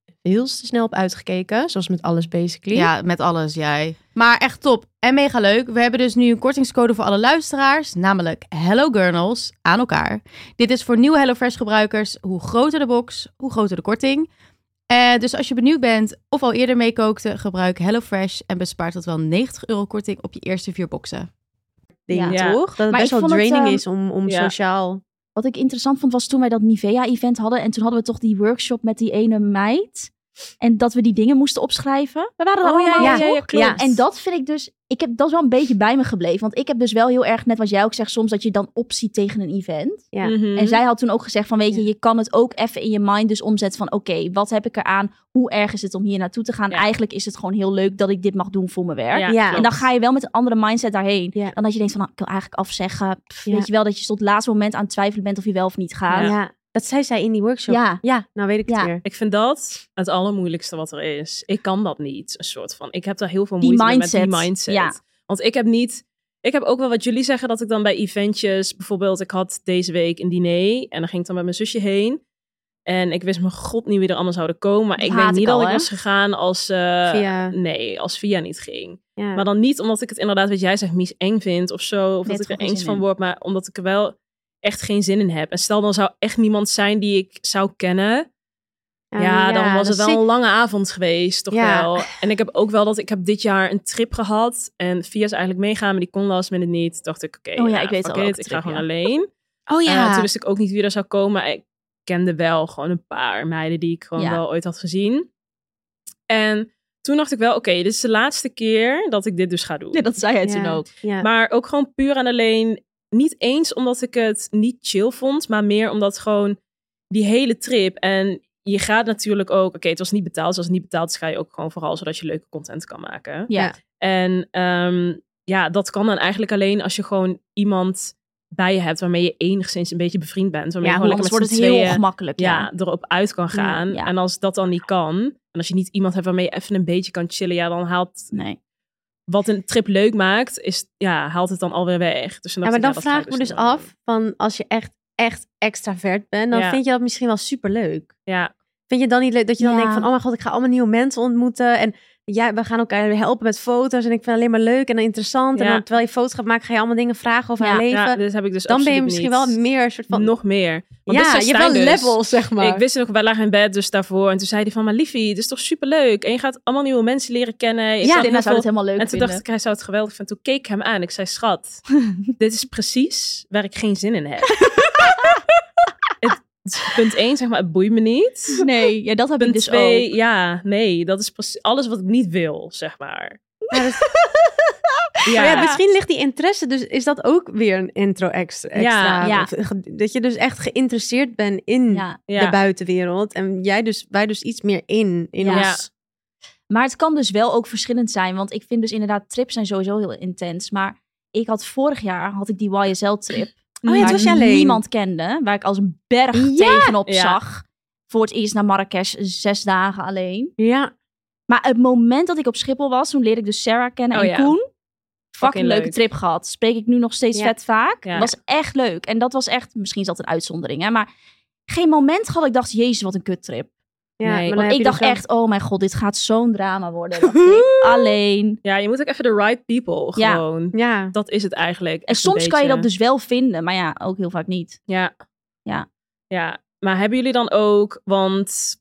H: heel te snel op uitgekeken. Zoals met alles basically.
G: Ja, met alles, jij. Maar echt top en mega leuk. We hebben dus nu een kortingscode voor alle luisteraars, namelijk Hello Gurnals aan elkaar. Dit is voor nieuwe HelloFresh gebruikers. Hoe groter de box, hoe groter de korting. Eh, dus als je benieuwd bent of al eerder meekookte, gebruik HelloFresh en bespaart tot wel 90 euro korting op je eerste vier boxen.
D: Ding,
C: Ja.
D: toch? Dat het
E: Maar
D: best
E: ik
D: wel
E: vond het,
D: draining
E: ehm,
D: is om, om
C: ja.
D: sociaal...
E: wat ik interessant vond was toen wij dat Nivea-event hadden. En toen hadden we toch die workshop met die ene meid. En dat we die dingen moesten opschrijven. We waren er allemaal.
D: Oh, ja, ja,
E: toch?
D: ja, klopt.
E: En dat vind ik dus. Ik heb dat is wel een beetje bij me gebleven. Want ik heb dus wel heel erg, net wat jij ook zegt, soms dat je dan opziet tegen een event.
D: Ja.
C: Mhm.
E: En zij had toen ook gezegd van weet je, je kan het ook even in je mind dus omzetten van oké, wat heb ik eraan? Hoe erg is het om hier naartoe te gaan?
C: Ja.
E: Eigenlijk is het gewoon heel leuk dat ik dit mag doen voor mijn werk.
C: Ja,
D: Ja.
E: En dan ga je wel met een andere mindset daarheen.
D: Ja.
E: Dan dat je denkt van, nou, ik wil eigenlijk afzeggen. Pff,
D: Ja.
E: Weet je wel, dat je tot het laatste moment aan het twijfelen bent of je wel of niet gaat.
D: Ja.
E: Ja,
D: dat zei zij in die workshop.
E: ja.
D: nou weet ik het
E: Ja.
D: weer.
C: Ik vind dat het allermoeilijkste wat er is. Ik kan dat niet, een soort van. Ik heb daar heel veel
E: Die
C: moeite mee
E: mindset,
C: met die mindset.
E: ja.
C: Want ik heb niet... Ik heb ook wel wat jullie zeggen, dat ik dan bij eventjes... Bijvoorbeeld, ik had deze week een diner en dan ging ik dan met mijn zusje heen. En ik wist mijn god niet wie er allemaal zouden komen. Maar
E: Dat
C: ik denk
E: haat
C: niet
E: ik
C: dat
E: al,
C: ik
E: hè?
C: was gegaan als... eh,
D: Via-
C: Nee, als Via niet ging.
D: Ja.
C: Maar dan niet omdat ik het inderdaad, wat jij zegt, mies eng vind of zo. Of
E: Nee,
C: dat ik
E: het
C: er
E: gewoon geen
C: eens
E: zin
C: van
E: in.
C: word. Maar omdat ik er wel echt geen zin in heb. En stel dan zou echt niemand zijn die ik zou kennen. Ja,
E: Oh,
C: dan was het wel een lange avond geweest, toch
D: Ja.
C: wel. En ik heb ook wel dat ik heb dit jaar een trip gehad. En Via is eigenlijk meegaan, maar die kon last minute niet. Dacht ik, oké,
E: Oh ja,
C: nou,
E: ik weet
C: fuck
E: al welke
C: it, Ik ga
E: trip,
C: gewoon
E: ja.
C: alleen.
D: Oh
C: Eh,
D: ja.
C: toen wist ik ook niet wie er zou komen. Ik kende wel gewoon een paar meiden die ik gewoon
E: Ja.
C: wel ooit had gezien. En toen dacht ik wel, oké, dit is de laatste keer dat ik dit dus ga doen.
E: Nee, dat zei hij
D: Ja.
E: toen ook.
D: Ja.
C: Maar ook gewoon puur en alleen niet eens omdat ik het niet chill vond, maar meer omdat gewoon die hele trip en je gaat natuurlijk ook, oké, het was niet betaald, dus als het niet betaald is, ga je ook gewoon vooral zodat je leuke content kan maken.
E: Ja.
D: Ja.
C: En ehm, ja, dat kan dan eigenlijk alleen als je gewoon iemand bij je hebt waarmee je enigszins een beetje bevriend bent, waarmee
E: Ja,
C: je gewoon
E: anders
C: lekker met
E: wordt
C: z'n
E: het heel
C: tweeën
E: ongemakkelijk. Ja.
C: ja, erop uit kan gaan.
E: ja.
C: En als dat dan niet kan, en als je niet iemand hebt waarmee je even een beetje kan chillen, ja, dan haalt
E: Nee.
C: wat een trip leuk maakt, is, ja, haalt het dan alweer weg. Dus
D: Ja, maar dan
C: dacht
D: vraag
C: ja,
D: ik
C: dat
D: me
C: ga
D: dus af, van als je echt, echt extravert bent, dan
C: Ja.
D: vind je dat misschien wel superleuk.
C: Ja,
D: Vind je dan niet leuk dat je dan
E: Ja.
D: denkt van, oh mijn god, ik ga allemaal nieuwe mensen ontmoeten. En ja, we gaan elkaar helpen met foto's. En ik vind het alleen maar leuk en interessant. En
C: Ja.
D: dan, terwijl je foto's gaat maken, ga je allemaal dingen vragen over
E: Ja.
D: haar leven.
C: Ja, dat heb ik dus
D: dan ben je
C: absoluut
D: misschien
C: niet.
D: wel meer een soort van...
C: Nog meer. Want dit
D: ja, je
C: zei
D: hebt wel
C: Stijn dus.
D: levels, zeg maar.
C: Ik wist het nog, wij lagen in bed dus daarvoor. En toen zei hij van, maar liefie, dit is toch superleuk. En je gaat allemaal nieuwe mensen leren kennen. Je
D: Ja,
C: zag
E: Linda zou het
C: hoeveel-
E: helemaal leuk
C: En toen
E: vinden.
C: dacht ik, hij zou het geweldig vinden. Toen keek ik hem aan. Ik zei,
D: [LAUGHS]
C: schat, dit is precies waar ik geen zin in heb. het, punt 1, zeg maar, het boeit me niet.
D: [LAUGHS]
E: nee, [LAUGHS] ja, dat heb ik
C: Punt
E: dus
C: 2,
E: ook.
C: ja, nee, dat is precies alles wat ik niet wil, zeg maar.
D: Ja, dat- Maar ja, misschien ligt die interesse, dus is dat ook weer een intro ex- extra.
E: ja.
D: Of ge- Dat je dus echt geïnteresseerd bent in
E: Ja.
C: Ja.
D: de buitenwereld. En jij dus, wij dus iets meer in, in
E: Ja.
D: ons...
E: Maar het kan dus wel ook verschillend zijn. Want ik vind dus inderdaad, trips zijn sowieso heel intens. Maar ik had vorig jaar, had ik die YSL-trip.
D: Oh ja, het
E: waar
D: was
E: ik
D: je alleen.
E: niemand kende. Waar ik als een berg tegenop
C: Ja.
E: zag. Voor het eerst naar Marrakesh, zes dagen alleen.
D: Ja.
E: Maar het moment dat ik op Schiphol was, toen leerde ik dus Sarah kennen
C: Oh
E: en
C: ja.
E: Koen. Fucking
C: Fucking
E: leuke
C: leuk.
E: trip gehad. Spreek ik nu nog steeds
D: Ja.
E: vet vaak.
C: Ja.
E: Was echt leuk. En dat was echt, misschien is dat een uitzondering, hè, maar geen moment had ik dacht, jezus, wat een kuttrip.
D: ja
C: Nee,
D: maar dan
C: want
D: heb
E: Want
D: je
E: ik
D: dus
E: dacht
D: wel-
E: echt, oh mijn god, dit gaat zo'n drama worden.
D: [LAUGHS]
E: dacht ik. Alleen.
C: Ja, je moet ook even de right people
E: Ja.
C: gewoon.
D: Ja.
C: Dat is het eigenlijk.
E: En
C: Echt een
E: soms kan je dat
C: beetje.
E: dus wel vinden, maar ja, ook heel vaak niet.
C: Ja.
E: Ja.
C: Ja. Maar hebben jullie dan ook, want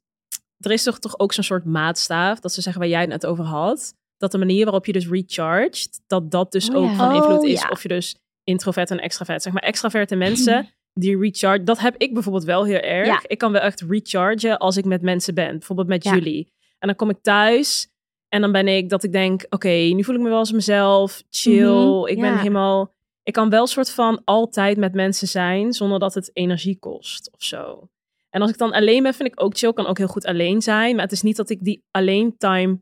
C: er is toch, toch ook zo'n soort maatstaaf, dat ze zeggen waar jij het net over had, dat de manier waarop je dus recharged, dat dat dus
D: Oh
C: ook
D: ja.
C: van invloed
E: Oh
C: is
E: ja.
C: of je dus introvert en extravert, zeg maar extraverte mensen die recharge, dat heb ik bijvoorbeeld wel heel erg.
E: Ja.
C: Ik kan wel echt rechargen als ik met mensen ben, bijvoorbeeld met
D: Ja.
C: jullie. En dan kom ik thuis en dan ben ik dat ik denk, oké, nu voel ik me wel als mezelf, chill,
E: Mhm,
C: ik
D: ja.
C: ben helemaal ik kan wel soort van altijd met mensen zijn zonder dat het energie kost of zo. En als ik dan alleen ben, vind ik ook chill, kan ook heel goed alleen zijn. Maar het is niet dat ik die alleen time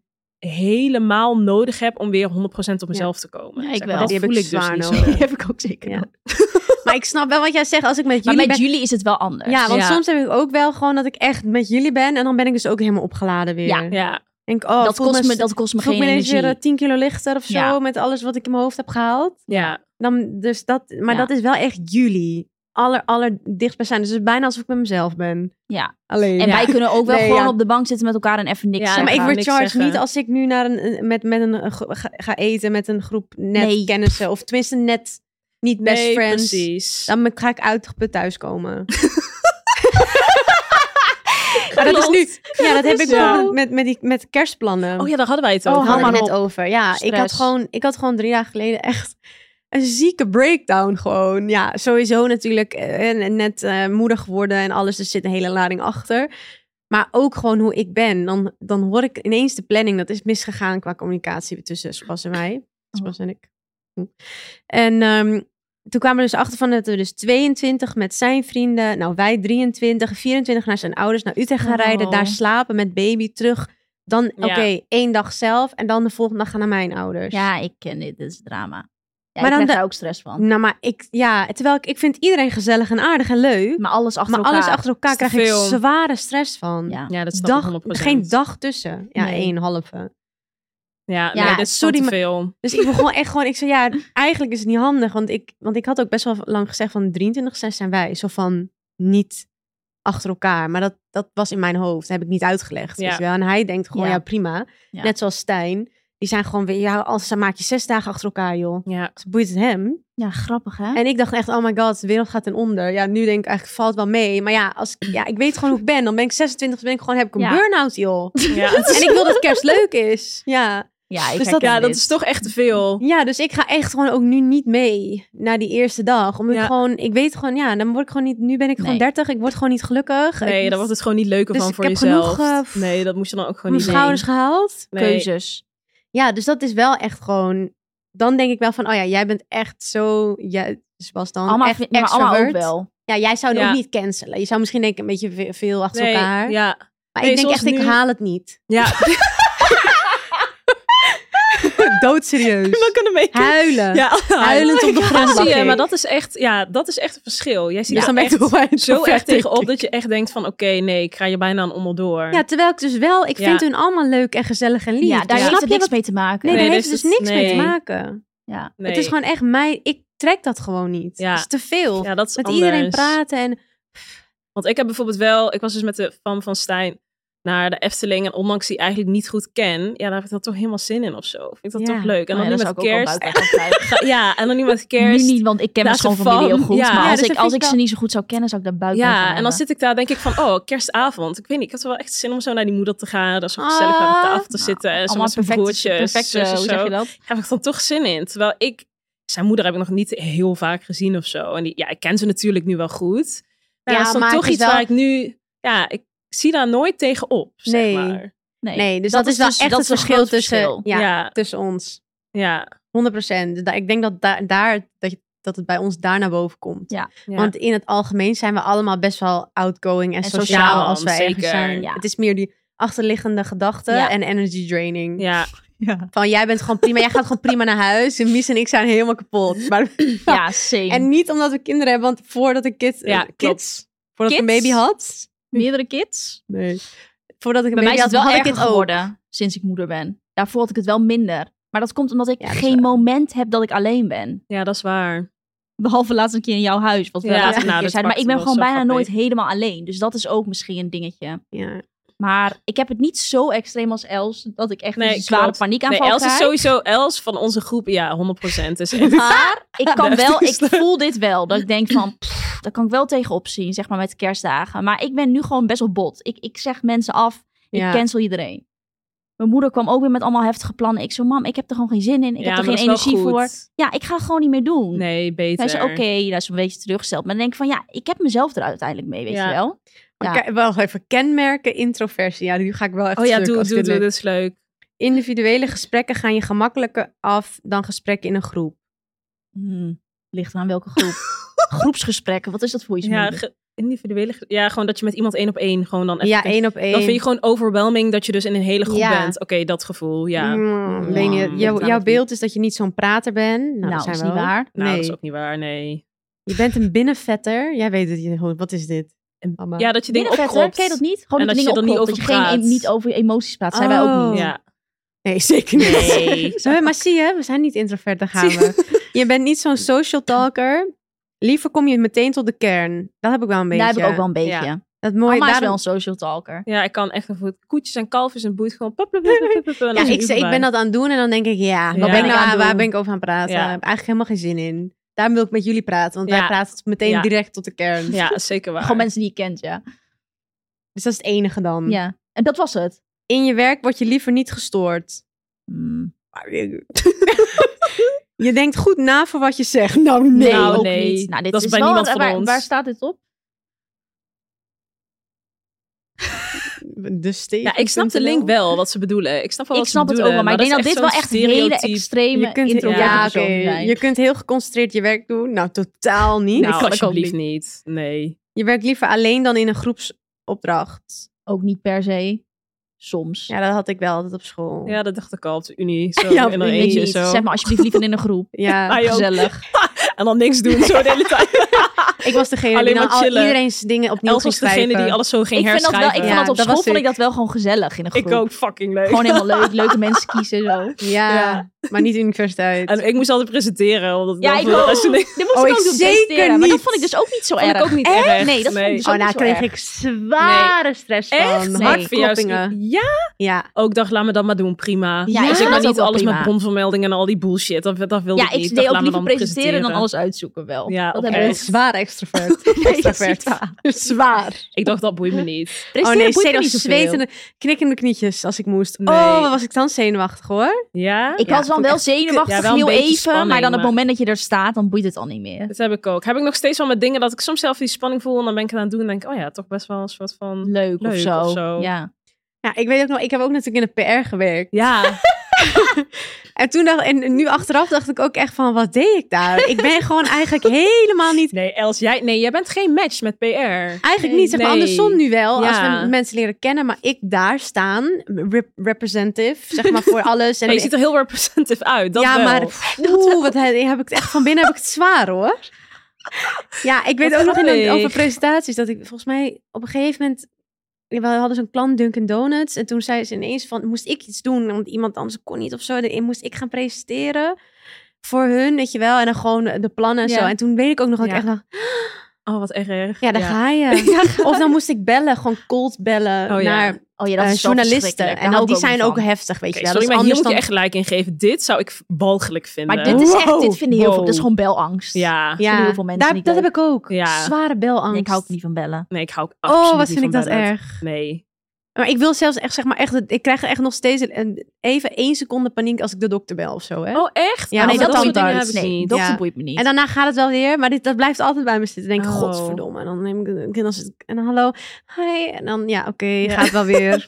C: helemaal nodig heb om weer 100% op mezelf te komen.
E: Ja, ik
C: zeg
E: wel.
C: maar. Dat
D: [LAUGHS] Die heb
C: voel
D: ik
C: ik dus
D: zwaar
C: niet zo.
D: nodig.
E: Die heb ik ook zeker.
D: Ja.
E: nog.
D: [LAUGHS] Maar ik snap wel wat jij zegt als ik
E: Maar
D: met jullie
E: met
D: ben.
E: jullie is het wel anders.
D: Ja, want
C: Ja.
D: soms heb ik ook wel gewoon dat ik echt met jullie ben. En dan ben ik dus ook helemaal opgeladen weer.
E: Ja.
C: [LAUGHS] Ja,
D: Denk, oh,
E: dat,
D: voel
E: kost me,
D: st-
E: dat kost me
D: voel
E: geen
D: ik me ineens
E: energie.
D: weer eh, 10 kilo lichter of zo.
E: Ja.
D: Met alles wat ik in mijn hoofd heb gehaald.
C: ja,
D: Dan, dus dat, maar
E: Ja.
D: dat is wel echt jullie. Aller, aller dichtstbijzijn. Dus het is bijna alsof ik met mezelf ben.
E: Ja.
D: Alleen.
E: En
D: Ja.
E: wij kunnen ook wel
D: Nee,
E: gewoon
D: ja.
E: op de bank zitten met elkaar en even niks
C: Ja,
E: zeggen.
D: maar ik
C: word- niks
D: recharge
C: zeggen.
D: niet als ik nu naar een, een- met, met een, eh, gro- ga, ga eten met een groep net
E: Nee.
D: kennissen. Of tenminste net niet best
C: nee,
D: friends.
C: precies.
D: Dan ga ik uitgeput thuiskomen. maar dat is nu. Ja, dat heb ik
C: zo.
D: bijvoorbeeld met, met, die, met kerstplannen.
C: Oh ja, daar hadden wij het
D: Oh,
C: over.
D: hadden we
C: man
D: het net
C: op.
D: over. Ja, ik had,
C: Stress.
D: gewoon, ik had gewoon drie dagen geleden echt een zieke breakdown gewoon. Ja, sowieso natuurlijk eh, en net eh, moeder geworden en alles. Dus zit een hele lading achter. Maar ook gewoon hoe ik ben. Dan, dan hoor ik ineens de planning. Dat is misgegaan qua communicatie tussen Spas en
C: Oh.
D: mij. Spas en ik. Hm. En ehm, toen kwamen we dus achter van dat we dus 22 met zijn vrienden. Nou, wij 23. 24 naar zijn ouders naar Utrecht gaan
E: Oh.
D: rijden. Daar slapen met baby terug. Dan, oké,
C: Ja.
D: één dag zelf. En dan de volgende dag gaan naar mijn ouders.
E: Ja, ik ken dit. Dit is drama. Ja, ik
D: Maar dan
E: krijg
D: de-
E: daar ook stress van.
D: Nou, maar ik, ja, terwijl ik, ik vind iedereen gezellig en aardig en leuk.
E: Maar alles achter
D: Maar
E: elkaar.
D: alles achter elkaar
C: Is te
D: krijg ik
C: veel.
D: zware stress van. Dus
E: Ja.
C: Ja, dat snap ik
D: dag,
C: 100%.
D: geen dag tussen. Ja,
E: Nee.
D: één halve.
C: Ja,
E: Ja,
C: nee, dit is sorry,
D: sorry,
C: te
D: maar-
C: veel.
D: Dus ik begon echt gewoon, ik zei ja, eigenlijk is het niet handig. Want ik, want ik had ook best wel lang gezegd van 23, 6 zijn wij. Zo van niet achter elkaar. Maar dat, dat was in mijn hoofd. Dat heb ik niet uitgelegd.
C: Ja.
D: weet je wel. En hij denkt gewoon,
E: Ja.
D: ja, prima.
E: Ja.
D: Net zoals Stijn. Die zijn gewoon weer, ja, als ze maak je zes dagen achter elkaar, joh. [LAUGHS]
C: Ja,
D: Dus boeit het hem.
E: Ja, grappig hè?
D: En ik dacht echt, oh my god, de wereld gaat ten onder. Ja, nu denk ik eigenlijk, valt wel mee. Maar ja, als, ik- ja ik weet gewoon hoe ik ben. Dan ben ik 26, ben ik gewoon, heb ik een
E: Ja.
D: burn-out,
C: [LAUGHS]
D: joh.
C: ja,
D: En ik wil dat kerst leuk is. Ja.
E: ja, ik
C: dus dat,
E: herken
C: ja dat
E: dit.
C: is toch echt te veel.
D: ja, dus ik ga echt gewoon ook nu niet mee naar die eerste dag. Omdat
C: Ja.
D: ik gewoon, ik weet gewoon, ja, dan word ik gewoon niet, nu ben ik gewoon
E: Nee.
D: 30, ik word gewoon niet gelukkig.
C: Nee,
D: Ik-
C: daar wordt het gewoon niet leuker
D: Dus
C: van
D: ik
C: voor
D: heb
C: jezelf.
D: genoeg, eh, pff,
C: nee, dat moet je dan ook gewoon niet
D: mijn
C: doen.
D: schouders gehaald.
C: Nee.
E: keuzes.
D: Ja, dus dat is wel echt gewoon, dan denk ik wel van, oh ja, jij bent echt zo, jij, zoals dan,
E: Allemaal,
D: echt
E: vind- maar allemaal ook
D: extrovert.
E: wel.
D: Ja, jij zou het
C: Ja.
D: ook niet cancelen. Je zou misschien denken een beetje ve- veel achter
C: Nee,
D: elkaar.
C: ja,
D: Maar
C: Nee,
D: ik denk
C: zoals
D: echt, ik
C: nu-
D: haal het niet. [LAUGHS]
C: ja.
D: Doodserieus.
C: we kunnen mee.
D: Huilen.
C: Ja,
D: Huilend op de grond lag
C: Zie je,
D: ik.
C: maar dat is echt, ja, dat is echt een verschil. Jij ziet
D: Dus
C: er
D: dan ben ik [LAUGHS]
C: echt
D: toch wel eens
C: zo
D: ver,
C: echt
D: denk
C: tegenop
D: ik.
C: dat je echt denkt van, oké, nee, ik ga je bijna aan onder door.
D: Ja, terwijl ik dus wel... Ik
C: Ja.
D: vind hun allemaal leuk en gezellig en lief.
E: Ja, daar
D: Dus
E: heeft
D: snap
E: het
D: je
E: niks
D: wat-
E: mee te maken.
D: Nee, daar
C: Nee,
D: heeft
C: dus
D: het dus
C: dat-
D: niks mee te
C: nee.
D: maken.
E: Ja.
C: Nee.
D: Het is gewoon echt mij... Ik trek dat gewoon niet.
C: Ja.
D: Het is te veel.
C: ja, dat is
D: Met
C: anders.
D: iedereen praten en...
C: Want ik heb bijvoorbeeld wel, ik was dus met de fam van Stijn naar de Efteling. En ondanks die eigenlijk niet goed ken, ja, daar heb ik dan toch helemaal zin in of zo. Vind ik dat toch leuk. En dan
G: ja,
C: nu met
G: daar zou ik ook wel
C: kerst.
G: buik van krijgen. [LAUGHS]
C: Ja, en dan nu met
E: Nu
C: kerst.
E: niet, want ik
C: Daar
E: ken mijn
C: is een
E: schoonfamilie heel
C: fan.
E: goed.
C: Ja.
E: maar
G: Ja,
E: als,
G: dus
E: ik,
G: dat
E: als
G: vind
E: ik
G: ik
E: ze niet zo goed zou kennen, zou ik daar buik van
C: Ja,
E: gaan
C: en dan
E: hebben.
C: zit ik daar denk ik van, oh, kerstavond. Ik weet niet, ik had wel echt zin om zo naar die moeder te gaan. Daar zo gezellig aan de
G: Ah,
C: tafel te zitten. En zo met zijn broertjes.
E: perfect,
C: zus en
E: hoe zeg
C: zo.
E: je dat?
C: Daar heb ik dan toch zin in. Terwijl ik, zijn moeder heb ik nog niet heel vaak gezien of zo. En die, ja, ik ken ze natuurlijk nu wel goed. Maar ja, dat
D: Ja,
C: is dan
D: maar
C: toch
D: het is
C: iets
D: wel-
C: waar ik nu, ja, ik zie daar nooit tegenop, zeg
D: Nee.
C: maar.
D: Nee, dus dat, is wel
E: dus-
D: echt
E: dat is
D: het
E: een
D: verschil
E: groot
D: tussen, eh,
E: verschil.
D: Ja,
C: ja,
D: tussen ons.
C: ja.
D: 100 procent. Ik denk dat, da- daar, dat, je- dat het bij ons daar naar boven komt.
C: ja.
D: Want in het algemeen zijn we allemaal best wel outgoing en,
E: En
D: sociaal,
C: sociaal,
D: als we ergens
C: zeker.
D: zijn.
E: Ja.
D: Het is meer die achterliggende gedachte
E: Ja.
D: en energy draining.
C: ja,
D: Van jij bent gewoon prima, jij gaat gewoon prima naar huis. En Mies en ik zijn helemaal kapot. Maar,
E: Ja, same.
D: en niet omdat we kinderen hebben, want voordat ik kids,
C: Ja,
D: eh, kids voordat ik een
E: Kids?
D: baby had.
E: meerdere kids?
D: Nee. Voordat ik een
E: Bij mij
D: baby
E: is het
D: had,
E: wel
D: had ik
E: erger
D: het ook.
E: geworden sinds ik moeder ben. Daarvoor had ik het wel minder. Maar dat komt omdat ik
D: Ja, dat is
E: geen moment heb dat ik alleen ben.
C: ja, dat is waar.
E: Behalve laatst een keer in jouw huis, wat we
C: Ja,
E: laatst een
C: nou,
E: keer
C: dat
E: zeiden. Maar ik
C: pakt
E: ben
C: wel
E: gewoon
C: zo
E: bijna
C: gat mee.
E: nooit helemaal alleen. Dus dat is ook misschien een dingetje.
D: Ja.
E: Maar ik heb het niet zo extreem als Els, dat ik echt
C: Nee,
E: een zware
C: klopt.
E: paniek
C: Nee,
E: aanval
C: Els is
E: krijg.
C: sowieso Els van onze groep. Ja, 100%.
D: [LAUGHS]
C: Dus echt-
E: Maar ik kan
C: Dat
E: wel, ik
C: is leuk.
E: voel dit wel. Dat ik denk van, pff, daar kan ik wel tegenop zien, zeg maar met kerstdagen. Maar ik ben nu gewoon best wel bot. Ik, ik zeg mensen af,
D: Ja.
E: ik cancel iedereen. Mijn moeder kwam ook weer met allemaal heftige plannen. Ik zo, mam, ik heb er gewoon geen zin in. Ik
C: ja,
E: heb er
C: maar
E: geen
C: dat is wel
E: energie
C: goed.
E: voor. Ja, ik ga het gewoon niet meer doen.
C: Nee,
E: Hij
C: beter.
E: zei, oké, nou is een beetje teleurgesteld. Maar dan denk ik van, ja, ik heb mezelf er uiteindelijk mee, weet
C: Ja.
E: je wel.
D: Maar
E: Ja.
D: kijk, wel even kenmerken introversie. Ja, nu ga ik wel echt
C: Oh ja,
D: stuk
C: doe,
D: als ik
C: doe,
D: dit
C: doe.
D: lees.
C: Dat is leuk.
D: Individuele gesprekken gaan je gemakkelijker af dan gesprekken in een groep.
E: Hmm, ligt aan welke
C: [LAUGHS]
E: groep. Groepsgesprekken, wat is dat voor iets?
C: Ja,
E: moeder?
C: ge- individuele. ge- Ja, gewoon dat je met iemand één op één gewoon dan even
D: ja,
C: kunt-
D: één op één.
C: Dan vind je gewoon overwhelming dat je dus in een hele groep
D: Ja.
C: bent. Oké, dat gevoel. Ja. Nou,
D: Mm, ik weet niet,
E: Ja,
D: jouw-
C: dat
D: jouw
C: niet.
D: beeld is dat je niet zo'n prater bent. Nou,
E: nou,
D: dat zijn
E: is
D: we
E: niet
D: ook.
E: waar.
D: Nee.
C: dat is ook niet waar. Nee.
D: Je bent een binnenvetter. Jij weet het. je- Wat is dit? Mama.
C: Ja, dat je dingen
E: Binnenvetter,
C: opkropt.
E: ken je dat niet? Gewoon
C: En
E: dat,
C: dat
E: je
C: je er
E: dingen
C: niet
E: opkropt,
C: over
E: dat je geen,
C: praat.
E: niet over emoties praat. Zijn wij
D: Oh.
E: ook niet. Oh.
C: Ja.
D: Nee, zeker niet.
C: Nee.
E: [LAUGHS]
D: Zo, maar zie je, we zijn niet introvert, daar gaan we. Je bent niet zo'n social talker. Liever kom je meteen tot de kern. Dat heb ik wel een beetje.
E: Daar heb ik ook wel een beetje.
C: Ja.
D: Dat mooie,
E: Mama is
D: daarom-
E: wel een social talker.
C: ja, ik kan echt voor koetjes en kalfjes en boeit gewoon. pup, pup, pup, pup, pup, pup, en dan
D: Ja,
C: is
D: ik,
C: het
D: zei, ik
C: uur
D: ben dat aan het doen en dan denk ik, ja,
C: Ja.
D: Wat ben ik nou
E: Aan
D: aan,
E: doen.
D: waar ben ik over aan het praten?
C: Ja.
D: Ik heb eigenlijk helemaal geen zin in. Daarom wil ik met jullie praten, want
C: Ja.
D: wij praten meteen
C: Ja.
D: direct tot de kern.
C: voorbij. Ja, zeker waar.
E: [LAUGHS] Gewoon mensen die je kent, ja.
D: Dus dat is het enige dan.
E: ja. En dat was het.
D: In je werk word je liever niet gestoord.
E: Hmm.
D: je denkt goed na voor wat je zegt. Nou, nee.
E: Nee,
C: Nou,
E: ook
C: nee.
E: niet. Nou, dit
C: Dat is
E: is
C: bij
E: wel-
C: niemand van
E: waar,
C: ons.
E: Waar staat dit op?
D: De steek.
C: Ja, ik snap de link wel wat ze bedoelen. Ik snap wel
E: Ik
C: wat ze
E: snap het ook
C: bedoelen,
E: wel, maar ik denk dat dit wel
C: zo'n
E: echt hele
C: stereotype.
E: extreme
D: Je kunt,
E: introverte
D: ja,
E: personen
D: oké.
E: zijn.
D: je kunt heel geconcentreerd je werk doen. Nou, totaal niet.
C: Nou,
E: kan ik ook
C: alsjeblieft niet. Nee.
D: Je werkt liever alleen dan in een groepsopdracht.
E: Ook niet per se. Soms.
D: Ja, dat had ik wel altijd op school.
C: Ja, dat dacht ik al op de
E: [LAUGHS]
C: Unie. Zo,
D: Ja, op
C: en
D: de
C: dan
E: Weet
C: eentje
E: je Oh. niet.
C: zo.
E: Zeg maar alsjeblieft liever in een groep.
C: [LAUGHS]
D: ja.
C: Ah, joh.
E: Gezellig.
C: En dan niks doen, zo de hele
E: [LAUGHS]
C: tijd.
D: Ik was degene
C: Alleen
D: die dan
C: maar
D: al
C: chillen.
D: iedereen's dingen opnieuw
C: Els
D: ging
C: was degene
D: schrijven.
C: die alles zo ging
E: Ik vind dat wel, ik
C: herschrijven.
E: vind
D: Ja,
E: dat op
D: dat was
E: school vond ik
D: ik.
E: dat wel gewoon gezellig in een groep.
C: Ik ook fucking leuk.
E: Gewoon helemaal leuk. Leuke mensen kiezen zo.
D: Ja, maar niet
C: [LAUGHS]
D: universiteit.
C: En ik moest altijd presenteren. Omdat
E: Ja,
C: dan
E: ik
C: voor de
E: ook.
C: rest niks-
E: Dit moest
D: Oh,
E: ik ook
D: ik
E: doen
D: zeker
E: presteren, Maar dat
D: niet.
E: vond ik dus ook niet zo
C: Vond
E: erg.
C: ik ook niet erg.
E: Nee, dat vond ik dus
D: oh,
E: ook
D: nou
E: niet zo
D: kreeg
E: erg.
D: ik zware stress van.
C: Echt?
E: Nee.
C: Hard voor jou is-
D: Hartkloppingen.
C: Ja.
D: Ja.
C: Ook dacht, laat me dat maar doen, prima.
E: Ja,
C: dus
E: ik
C: ik
E: vind
C: dan
E: dat ook
C: niet
E: wel
C: alles
E: prima.
C: met bronvermeldingen en al die bullshit. Dat, dat wilde
E: Ja,
C: ik niet.
E: ik
C: Dat
E: deed ook
C: laat me
E: liever
C: dan
E: presenteren dan alles uitzoeken wel.
C: Ja,
E: dat
C: oké.
E: hebben we
C: Echt.
D: Zwaar extrovert.
C: [LAUGHS]
D: extrovert. Zwaar.
C: Ik dacht, dat boeit me niet.
E: Presteren
D: Oh nee,
E: boeit me
D: Zeno
E: niet zoveel.
D: zwetende, knikkende knietjes als ik moest.
C: Nee.
D: Oh, wat was ik dan zenuwachtig hoor.
C: Ja?
E: Ik
D: Ja,
E: was dan
D: vond ik
E: wel
D: echt
E: zenuwachtig,
C: kut. Ja, wel een
E: heel
C: beetje
E: even. maar
C: spanning,
E: dan op het
C: maar-
E: moment dat je er staat, dan boeit het al niet meer.
C: Dat heb ik ook. Heb ik nog steeds wel met dingen dat ik soms zelf die spanning voel. En dan ben ik het aan het doen en denk ik, oh ja, toch best wel een soort van...
E: Leuk,
C: Leuk
E: of, zo.
C: of zo.
E: Ja.
D: Ja, ik weet ook nog, ik heb ook natuurlijk in de PR gewerkt.
E: [LAUGHS]
C: Ja,
D: En toen dacht, en nu achteraf dacht ik ook echt van, wat deed ik daar? Ik ben gewoon eigenlijk helemaal niet
C: nee, Els, jij, nee, jij bent geen match met PR.
D: Eigenlijk
C: Nee.
D: niet, zeg maar
C: Nee.
D: andersom nu wel,
C: Ja.
D: als we mensen leren kennen. Maar ik daar staan, rep- representative, zeg maar
C: [LAUGHS]
D: voor alles. En
C: Nee, je ziet er heel representative uit. Dat
D: ja,
C: wel.
D: maar oeh, wat he- heb ik het echt van binnen, heb ik het zwaar hoor. Ja, ik weet
C: Wat
D: ook nog in een,
C: grappig.
D: over presentaties dat ik volgens mij op een gegeven moment... We hadden zo'n klant Dunkin' Donuts en toen zei ze ineens van, moest ik iets doen? Want iemand anders kon niet of zo. En moest ik gaan presenteren voor hun, weet je wel. En dan gewoon de plannen en
E: Ja.
D: zo. En toen weet ik ook nog dat
C: Ja.
D: ik echt dacht,
C: Oh, wat erg.
D: Ja, daar
G: Ja.
D: ga
C: [LAUGHS]
D: je. Of dan moest ik bellen, gewoon cold bellen
C: Oh ja.
D: naar
E: Oh ja, dat
D: eh,
E: is zo
D: journalisten.
E: verschrikkelijk. Daar hou
D: En dan,
E: ik
D: die zijn
E: niet
D: ook
E: van.
D: heftig, weet
C: Oké,
D: je
C: sorry,
D: wel. dat is
C: maar hier
D: anders
C: moet je
D: dan...
C: echt gelijk in geven. Dit zou ik walgelijk vinden.
E: Maar dit is echt, dit
D: Wow.
E: vinden heel veel, dat is
C: Wow.
E: gewoon belangst.
C: Ja.
E: vinden heel veel mensen
D: daar-
E: niet
D: dat
E: leuk.
D: heb ik ook.
C: Ja.
D: Zware
E: Nee,
D: belangst.
E: ik hou ook niet van bellen.
C: Nee, ik hou ook absoluut
D: Oh, wat
C: niet
D: vind ik
C: van
D: dat
C: bellen.
D: erg.
C: Nee.
D: Maar ik wil zelfs echt, zeg maar, echt, ik krijg echt nog steeds een, even één seconde paniek als ik de dokter bel of zo. Hè?
C: Oh, echt?
D: Ja,
C: Oh,
D: nee,
C: maar
D: dat
C: soort
D: dan
C: dingen
D: thuis.
C: heb ik
E: Nee,
C: niet.
E: dat
D: Ja.
E: boeit me niet.
D: En daarna gaat het wel weer, maar dit, dat blijft altijd bij me zitten. Dan denk
C: Oh.
D: ik, godverdomme. En dan neem ik een kind als het, en dan hallo, hi. En dan, ja, oké, gaat wel
G: [LAUGHS]
D: weer.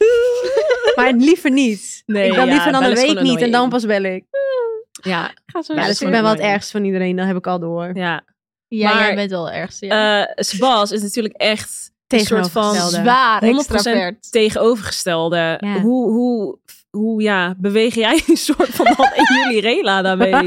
D: maar liever niet.
C: Nee,
D: ik wil
C: ja,
D: liever dan
C: bellen
D: een
C: is
D: week
C: gewoon
D: niet en dan
C: annoying.
D: pas bel ik.
C: Ja,
D: Ga zo
C: Ja,
D: ja,
C: dat is
D: dus ik
C: wel
D: ben wel het
C: annoying.
D: ergst van iedereen, dat heb ik al door.
C: ja.
G: Ja,
C: Maar-
G: jij bent wel erg. Ja.
C: Eh Sebas is natuurlijk echt een soort van
D: Tegenovergestelde.
E: Zwaar
C: 100%
E: extravert.
C: tegenovergestelde.
D: Ja.
C: Hoe, hoe, hoe ja, beweeg jij een soort van man in jullie rela
D: [LAUGHS]
C: daarmee?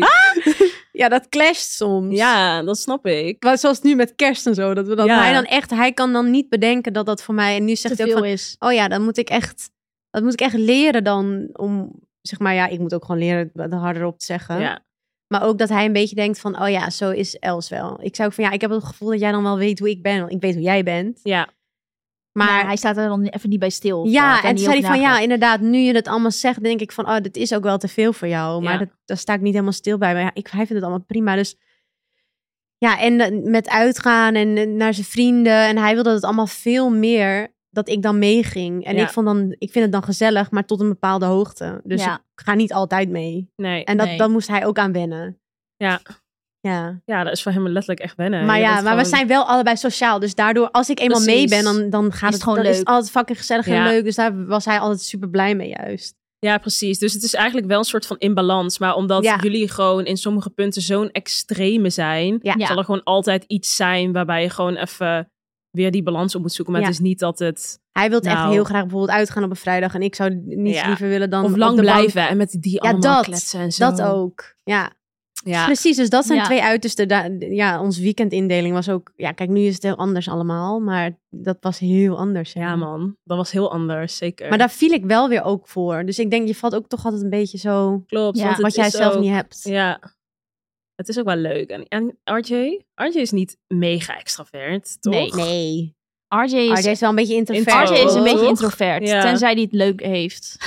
D: Ja, dat clasht soms.
C: Ja, dat snap ik.
D: Maar zoals nu met kerst en zo. Dat we dan,
C: Ja.
D: hij, dan echt, hij kan dan niet bedenken dat dat voor mij... En nu zegt
G: Te
D: hij ook
G: veel
D: van,
G: is.
D: oh ja, dan moet ik echt, dat moet ik echt leren dan om... Zeg maar, ja, ik moet ook gewoon leren het harder op te zeggen.
C: Ja.
D: Maar ook dat hij een beetje denkt van, oh ja, zo is Els wel. Ik zou ook van, ja, ik heb het gevoel dat jij dan wel weet hoe ik ben. Want ik weet hoe jij bent.
C: Ja.
D: Maar
E: Maar hij staat er dan even niet bij stil. of wat,
D: ja,
E: en
D: en toen
E: niet
D: zei hij
E: over
D: van, ja,
E: nagedacht.
D: inderdaad, nu je dat allemaal zegt, denk ik van, oh, dit is ook wel te veel voor jou. Maar
C: Ja.
D: dat, daar sta ik niet helemaal stil bij. Maar ja, ik, hij vindt het allemaal prima, dus... Ja, en eh, met uitgaan en eh, naar zijn vrienden. En hij wilde dat het allemaal veel meer dat ik dan meeging. En
C: Ja.
D: ik, vond dan, ik vind het dan gezellig, maar tot een bepaalde hoogte. Dus
E: Ja.
D: ik ga niet altijd mee.
C: Nee.
D: En dat,
G: Nee.
D: dan moest hij ook aan wennen.
C: Ja.
D: Ja,
C: ja, dat is voor hem letterlijk echt wennen.
D: maar
C: Je
D: ja, maar
C: bent
D: we
C: gewoon-
D: zijn wel allebei sociaal. Dus daardoor, als ik eenmaal mee ben,
C: Precies.
D: dan, dan gaat
E: het
D: het,
E: gewoon
D: dan is
E: leuk.
D: het altijd fucking gezellig en
C: Ja.
D: leuk. Dus daar was hij altijd super blij mee juist.
C: Ja, precies. Dus het is eigenlijk wel een soort van imbalans. Maar omdat
D: Ja.
C: jullie gewoon in sommige punten zo'n extreme zijn,
D: Ja.
C: zal er gewoon altijd iets zijn waarbij je gewoon even weer die balans op moet zoeken. Maar
D: Ja.
C: het is niet dat het...
D: Hij wil echt
C: Nou.
D: heel graag bijvoorbeeld uitgaan op een vrijdag. En ik zou niets
C: Ja.
D: liever willen dan.
C: Of
D: op
C: lang
D: de bank.
C: blijven en met die allemaal
D: dat.
C: kletsen en zo.
D: Dat ook. Ja.
C: Ja.
D: precies. Dus dat zijn
G: Ja.
D: twee uitersten. Da- Ja, onze weekendindeling was ook. Ja, kijk, nu is het heel anders allemaal. Maar dat was heel anders. hè.
C: Ja, man. Dat was heel anders, zeker.
D: Maar daar viel ik wel weer ook voor. Dus ik denk, je valt ook toch altijd een beetje zo.
C: klopt.
E: Ja.
C: want het
D: wat jij
C: is
D: zelf
C: ook-
D: niet hebt.
C: Ja. Het is ook wel leuk. En, en RJ? RJ is niet mega extravert, toch?
E: Nee.
D: Nee.
E: RJ is,
D: Maar jij is wel een beetje introvert.
E: RJ is een
C: Oh,
E: beetje
C: toch?
E: introvert.
C: Ja.
E: Tenzij die het leuk [LAUGHS] heeft.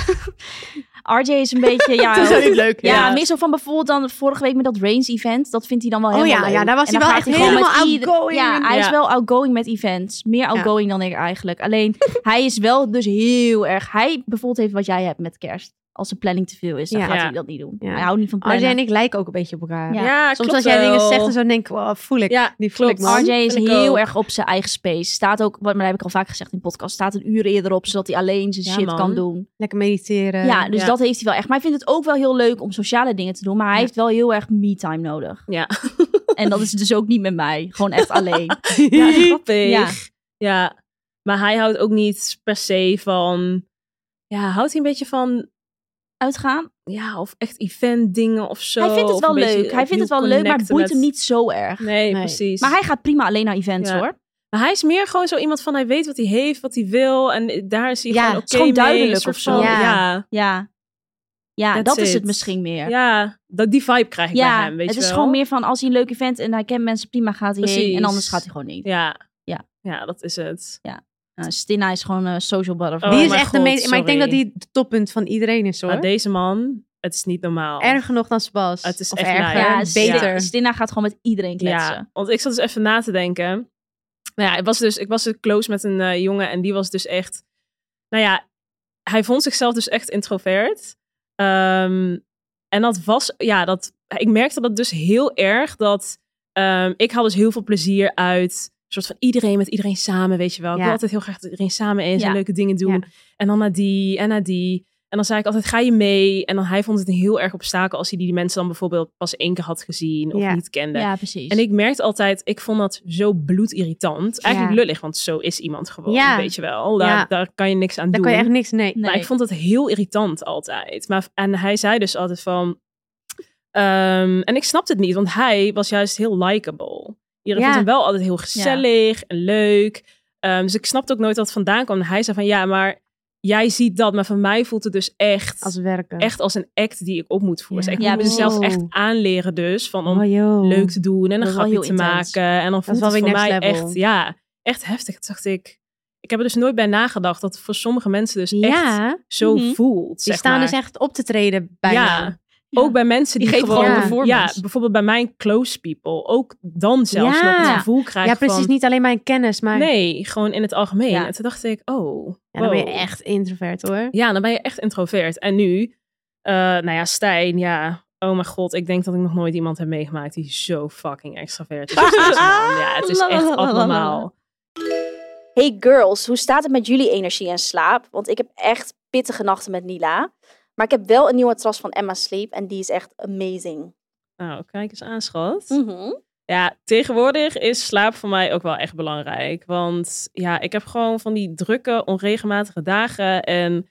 E: RJ is een beetje,
D: [LAUGHS]
E: ja...
D: niet leuk.
E: Ja,
C: Ja.
E: meer zo van bijvoorbeeld dan vorige week met dat Rains event. Dat vindt hij dan wel
D: Oh
E: helemaal
D: ja,
E: leuk.
D: ja, daar was
E: En
D: hij
E: dan
D: wel
E: gaat
D: echt
E: gewoon met
D: helemaal
E: ieder-
D: outgoing.
E: Ja, hij is
C: Ja.
E: wel outgoing met events. Meer outgoing dan ik eigenlijk.
D: [LAUGHS]
E: Alleen, hij is wel dus heel erg... Hij bijvoorbeeld heeft wat jij hebt met kerst. Als de planning te veel is, dan
D: Ja.
E: gaat
C: Ja.
E: hij dat niet doen.
D: Ja.
E: Hij houdt niet van
D: RJ
E: plannen.
D: en ik lijken ook een beetje op elkaar.
E: Ja.
D: Soms als jij dingen zegt en
C: dan
D: zo denk ik, wow, voel ik.
C: Ja,
D: die voel ik,
C: klopt.
D: man.
E: RJ is
C: Vind ik
E: heel
C: ook.
E: erg op zijn eigen space. Staat ook, wat- maar dat heb ik al vaak gezegd in de podcast, staat een uur eerder op, zodat hij alleen zijn
C: Ja,
E: shit
C: man. Eh,
E: kan doen.
D: Lekker mediteren.
E: ja, dus
C: ja.
E: dat heeft hij wel echt. Maar hij vindt het ook wel heel leuk om sociale dingen te doen, maar hij heeft wel heel erg me-time
C: [LAUGHS]
E: nodig.
C: Ja.
E: En dat is dus ook niet met mij, gewoon echt
C: [LAUGHS]
E: alleen. [LAUGHS]
C: Ja, grappig.
E: Ja.
C: Ja. maar hij houdt ook niet per se van... Ja, houdt hij een beetje van...
E: Uitgaan?
C: Ja, of echt event dingen of zo.
E: hij vindt het
C: of
E: wel
C: een beetje
E: leuk. Hij vindt het wel
C: opnieuw
E: leuk, maar het
C: connecten
E: boeit
C: met-
E: hem niet zo erg.
C: Nee,
D: Nee.
C: precies.
E: Maar hij gaat prima alleen naar events
C: Ja.
E: hoor. Het
C: Maar hij is meer gewoon zo iemand van hij weet wat hij heeft, wat hij wil. En daar is hij
D: Ja,
C: gewoon
D: het
C: oké
E: is gewoon
C: mee,
E: duidelijk
C: een soort
E: of zo.
C: van-
D: Ja.
C: Ja,
E: Ja, ja
C: That's
E: dat is
C: it.
E: het misschien meer.
C: ja, dat, die vibe krijg ik
E: Ja,
C: bij hem, weet
E: het
C: je
E: is
C: wel.
E: gewoon meer van als hij een leuk event en hij kent mensen prima, gaat hij heen. En
C: Precies.
E: anders gaat hij gewoon niet.
C: Ja.
E: Ja.
C: ja, dat is het.
E: Eh, Stina is gewoon een social butterfly.
C: Oh
D: die is
C: mijn
D: echt de
C: god,
D: meest. Maar ik denk dat
C: sorry.
D: die het toppunt van iedereen is hoor.
C: Maar deze man, het is niet normaal.
D: Erger nog dan Sebas.
C: Het is
D: Of
C: echt
D: erger.
C: naar-
E: Ja,
C: Ja.
D: beter.
E: Stina, Stina gaat gewoon met iedereen kletsen.
C: Ja, want ik zat dus even na te denken. Nou ja, ik was dus, ik was dus close met een eh, jongen en die was dus echt... Nou ja, hij vond zichzelf dus echt introvert. Ehm, en dat was, ja, dat, ik merkte dat dus heel erg dat ehm, ik had dus heel veel plezier uit een soort van iedereen met iedereen samen, weet je wel. Ik
D: Ja.
C: wil altijd heel graag dat iedereen samen is
E: Ja.
C: en leuke dingen doen. En dan naar die en naar die. En dan zei ik altijd, ga je mee? En dan hij vond het een heel erg obstakel als hij die mensen dan bijvoorbeeld pas één keer had gezien of
D: Ja.
C: niet kende.
E: Ja, precies.
C: En ik merkte altijd, ik vond dat zo bloedirritant. Eigenlijk
D: Ja.
C: lullig, want zo is iemand gewoon,
D: Ja.
C: weet je wel. Daar,
D: Ja.
C: daar kan je niks aan
D: Daar
C: doen.
D: kan je echt niks nee.
E: Nee.
C: Maar ik vond dat heel irritant altijd. Maar, en hij zei dus altijd van... ehm, en ik snapte het niet, want hij was juist heel likable. Iedereen
D: Ja.
C: vond hem wel altijd heel gezellig en leuk. Ehm, dus ik snapte ook nooit wat het vandaan kwam. En hij zei van, ja, maar jij ziet dat, maar van mij voelt het dus echt
F: Als
C: als,
F: werken.
C: echt als een act die ik op moet voeren. Dus ik
E: Ja,
C: moet
E: precies.
C: mezelf echt aanleren dus, van
D: Oh,
C: om
F: Mm.
C: leuk te doen en een
E: Dat is wel
C: grapje
E: heel
C: te
E: intens.
C: maken. En dan voelt
F: wel
C: het voor
F: weer
C: mij
F: next level.
C: echt, ja, echt heftig. Toen dacht ik, ik heb er dus nooit bij nagedacht dat het voor sommige mensen dus echt
F: Ja,
C: zo
E: Mhm.
C: voelt.
F: die
C: zeg
F: staan
C: maar.
F: dus echt op te treden bijna.
C: Ja. Ook bij mensen die,
F: Die geven
C: gewoon,
F: gewoon
C: ja,
E: performance.
C: bijvoorbeeld bij mijn close people, ook dan zelfs
F: Ja.
C: nog het gevoel krijgen
F: Ja, precies.
C: van,
F: Niet alleen mijn kennis, maar
C: nee, gewoon in het algemeen.
E: Ja.
C: En toen dacht ik, oh,
F: ja, dan ben je
C: wow.
F: echt introvert hoor.
C: Ja, dan ben je echt introvert. En nu, eh, nou ja, Stijn, ja. Oh mijn god, ik denk dat ik nog nooit iemand heb meegemaakt die zo fucking extravert is. als deze man. Ja, het is echt [LAUGHS] abnormaal.
I: Hey girls, hoe staat het met jullie energie en slaap? Want ik heb echt pittige nachten met Nila. Maar ik heb wel een nieuwe matras van Emma Sleep en die is echt amazing.
C: Nou, kijk eens aan, schat.
E: Mhm.
C: Ja, tegenwoordig is slaap voor mij ook wel echt belangrijk. Want ja, ik heb gewoon van die drukke, onregelmatige dagen. En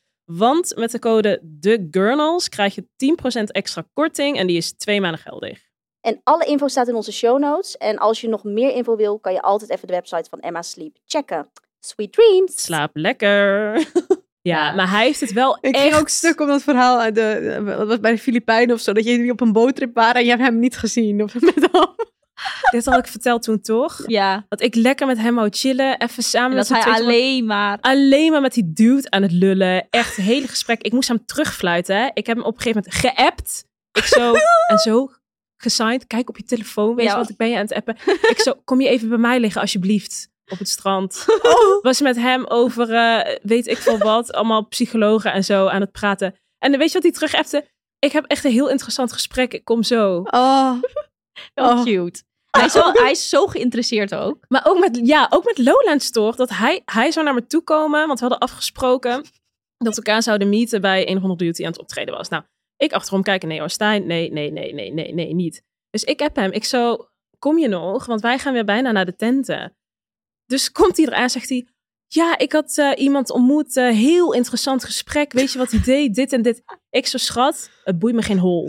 C: Want met de code TheGurnals krijg je 10% extra korting en die is twee maanden geldig.
I: En alle info staat in onze show notes. En als je nog meer info wil, kan je altijd even de website van Emma Sleep checken. Sweet dreams!
C: Slaap lekker. [LAUGHS] Ja, maar hij heeft het wel
D: Ik
C: echt...
D: ging ook stuk om dat verhaal uit de, dat was bij de Filipijnen of zo, dat jullie op een boottrip waren en jij hebt hem niet gezien. Of met hem.
C: [LAUGHS] Dit had ik verteld toen toch?
E: Ja.
C: Dat ik lekker met hem wou chillen. Even samen
E: En
C: met
E: dat
C: z'n
E: hij
C: tweeën-
E: alleen [LAUGHS] maar...
C: alleen maar met die dude aan het lullen. Echt het hele gesprek. Ik moest hem terugfluiten. Hè. Ik heb hem op een gegeven moment geappt. Ik zo en zo gesigned. Kijk op je telefoon. Weet je
E: Ja.
C: wat ik ben je aan het appen. Ik zo, kom je even bij mij liggen alsjeblieft. Op het strand.
E: Oh.
C: Was met hem over eh, weet ik veel wat. Allemaal psychologen en zo aan het praten. En weet je wat hij terug appte? Ik heb echt een heel interessant gesprek. Ik kom zo.
D: Oh,
E: [LAUGHS] Oh, cute. Hij is, zo, hij is zo geïnteresseerd ook.
C: Maar ook met, ja, ook met Lowlands toch? Dat hij, hij zou naar me toe komen, want we hadden afgesproken dat we elkaar zouden meeten bij een of ander dude die aan het optreden was. Nou, ik achterom kijken, nee hoor, Stijn, nee, nee, nee, nee, nee, nee, niet. Dus ik heb hem, ik zo, kom je nog? Want wij gaan weer bijna naar de tenten. Dus komt hij eraan, zegt hij, ja, ik had eh, iemand ontmoet, eh, heel interessant gesprek, weet je wat hij deed, dit en dit. Ik zo, schat, het boeit me geen
D: [LAUGHS]
C: hol.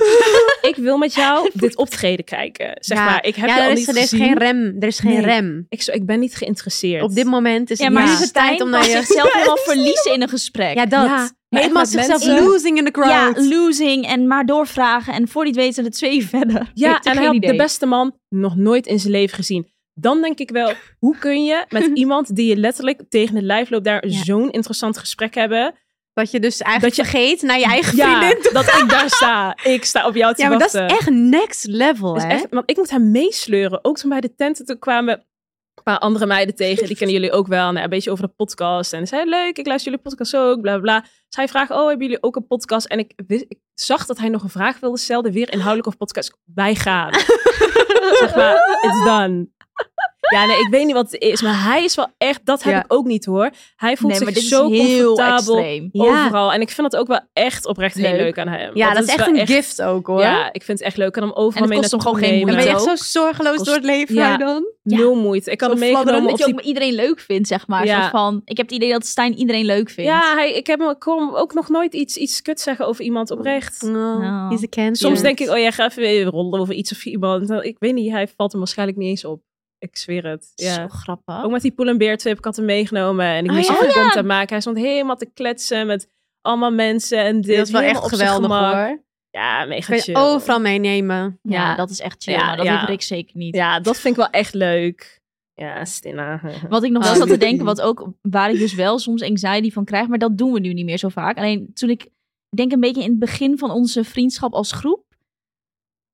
C: ik wil met jou dit optreden kijken, zeg
D: Ja.
C: maar. Ik heb
D: ja,
C: je
D: er
C: al
D: is,
C: niet
D: er is
C: gezien.
D: geen rem. Er is geen
C: Nee.
D: rem.
C: Ik, zo, ik ben niet geïnteresseerd.
D: Op dit moment is
E: Ja, maar
D: het
E: is het tijd om
D: naar je...
C: [LAUGHS]
E: zichzelf helemaal verliezen in een gesprek.
D: Ja, dat.
C: Ja, maar echt
D: helemaal
C: met
D: zichzelf
C: mensen-
D: losing in the
E: Ja,
D: crowd.
E: losing en maar doorvragen. En voor die het weet zijn er twee [LAUGHS] verder.
C: Ja,
E: Ik heb
C: en hij
E: geen
C: had de
E: idee.
C: beste man nog nooit in zijn leven gezien. Dan denk ik wel, hoe kun je
E: [LAUGHS]
C: met iemand die je letterlijk tegen het lijf loopt daar zo'n interessant gesprek hebben?
D: Dat je dus eigenlijk
C: Dat je-
D: vergeet naar je eigen
C: Ja,
D: vriendin.
C: dat ik daar sta. Ik sta op jou te
D: Ja, maar dat is
C: wachten.
D: echt next level,
C: Dat
D: hè?
C: is echt- want ik moet hem meesleuren. Ook toen bij de tenten toen kwamen een paar andere meiden tegen. Die kennen jullie ook wel. Nou, een beetje over de podcast. En zei, leuk, ik luister jullie podcast ook. Bla, bla, bla. Zij vraagt, oh, hebben jullie ook een podcast? En ik, wist- ik zag dat hij nog een vraag wilde stellen. Weer inhoudelijk of podcast. Wij
D: [LAUGHS]
C: gaan. zeg maar, it's done. Ja, nee, ik weet niet wat het is. Maar hij is wel echt... Dat heb
D: Ja.
C: ik ook niet, hoor. Hij voelt
E: nee, maar
C: zich
E: dit
C: zo
E: is heel
C: comfortabel
E: extreem.
D: Ja.
C: overal. En ik vind dat ook wel echt oprecht heel
E: Leuk.
C: leuk aan hem.
D: Ja,
C: Want
D: dat is echt
C: wel
D: een gift ook, hoor.
C: Ja, ik vind het echt leuk. Ik kan hem
E: En
C: overal
E: het
C: mee
E: kost hem
C: naartoe
E: gewoon geen
C: nemen.
D: Dan ben je
E: ook.
D: echt zo zorgeloos
C: Kost-
D: door het leven
C: Ja.
D: maar dan.
E: Ja.
C: Nul moeite. Ik had hem
D: Zo
C: meegenomen
D: fladderend
C: op
E: dat je ook
C: die...
E: maar iedereen leuk vindt, zeg maar.
C: Ja.
E: Soort van, ik heb het idee dat Stijn iedereen leuk vindt.
C: Ja, hij, ik, heb, hem- ik hoor hem ook nog nooit iets, iets kuts zeggen over iemand
D: Mm.
C: oprecht.
D: Oh.
E: Nou.
D: He's a cancer.
C: Soms denk ik, oh ja, ga even weer rollen over iets of iemand. Nou, Ik weet niet, hij valt hem waarschijnlijk niet eens op. Ik zweer het.
E: Zo
C: Ja.
E: grappig.
C: Ook met die poelenbeertwip, ik had hem meegenomen. En ik
D: Oh
C: moest
D: ja.
C: een verbond aan maken. Hij stond helemaal te kletsen met allemaal mensen en dit.
D: dat is wel
C: Helemaal
D: echt
C: op zijn
D: geweldig,
C: gemak.
D: hoor.
C: Ja, mega
D: Kun
C: chill.
D: je overal meenemen.
E: Ja,
C: Ja.
E: dat is echt chill.
C: Ja,
E: maar dat
C: ja.
E: heeft Rick zeker niet.
C: Ja, dat vind ik wel echt leuk. Ja, [LAUGHS] Stina.
E: Wat ik nog
C: Ah.
E: wel
D: Oh.
E: zat te denken, wat ook, waar ik dus wel soms anxiety van krijg, maar dat doen we nu niet meer zo vaak. Alleen toen ik, ik denk een beetje in het begin van onze vriendschap als groep,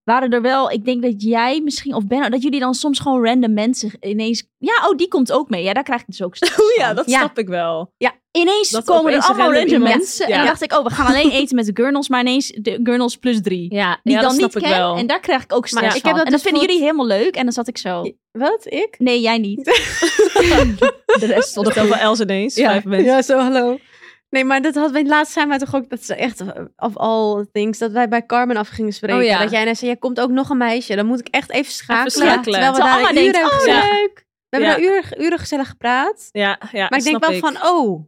E: waren er wel, ik denk dat jij misschien, of Benno, dat jullie dan soms gewoon random mensen ineens, ja, oh, die komt ook mee. Ja, daar krijg ik dus ook stress
C: [LAUGHS] Oh ja,
E: van.
C: dat
D: Ja.
C: snap ik wel.
E: Ineens
C: dat
E: komen er
C: opeens
E: allemaal
C: random
E: random
C: iemand-
E: mensen.
C: Ja.
E: En dan dacht ik, oh, we gaan alleen eten met de gurnels, maar ineens de gurnels plus drie.
C: Ja,
E: Die
C: ja,
E: ik dan
C: dat snap
E: niet
C: ik
E: ken.
C: wel.
E: En daar krijg ik ook stress
D: ik
E: van.
D: heb dat
E: en dat
D: dus
E: vinden
D: voor-
E: jullie helemaal leuk. En dan zat ik zo.
D: Wat? Ik? [LAUGHS]
E: Nee, jij niet. De rest
C: Dat [LAUGHS]
E: stond
C: wel Els ineens. Vijf mensen.
D: zo hallo. Nee, maar dat had wij laatst zijn wij toch ook, dat is echt of all things, dat wij bij Carmen af gingen spreken.
G: Oh ja.
D: Dat jij net zei, jij komt ook nog een meisje. Dan moet ik echt even schakelen.
C: schakelen.
D: Terwijl we
E: Terwijl
D: daar
E: Anna
D: een
E: denkt,
D: uur hebben
E: oh,
D: gezeten.
C: ja.
D: leuk. We hebben
C: Ja.
D: daar uren, uren gezellig gepraat.
C: Ja, ja,
D: Maar ik denk
C: snap
D: wel van, oh.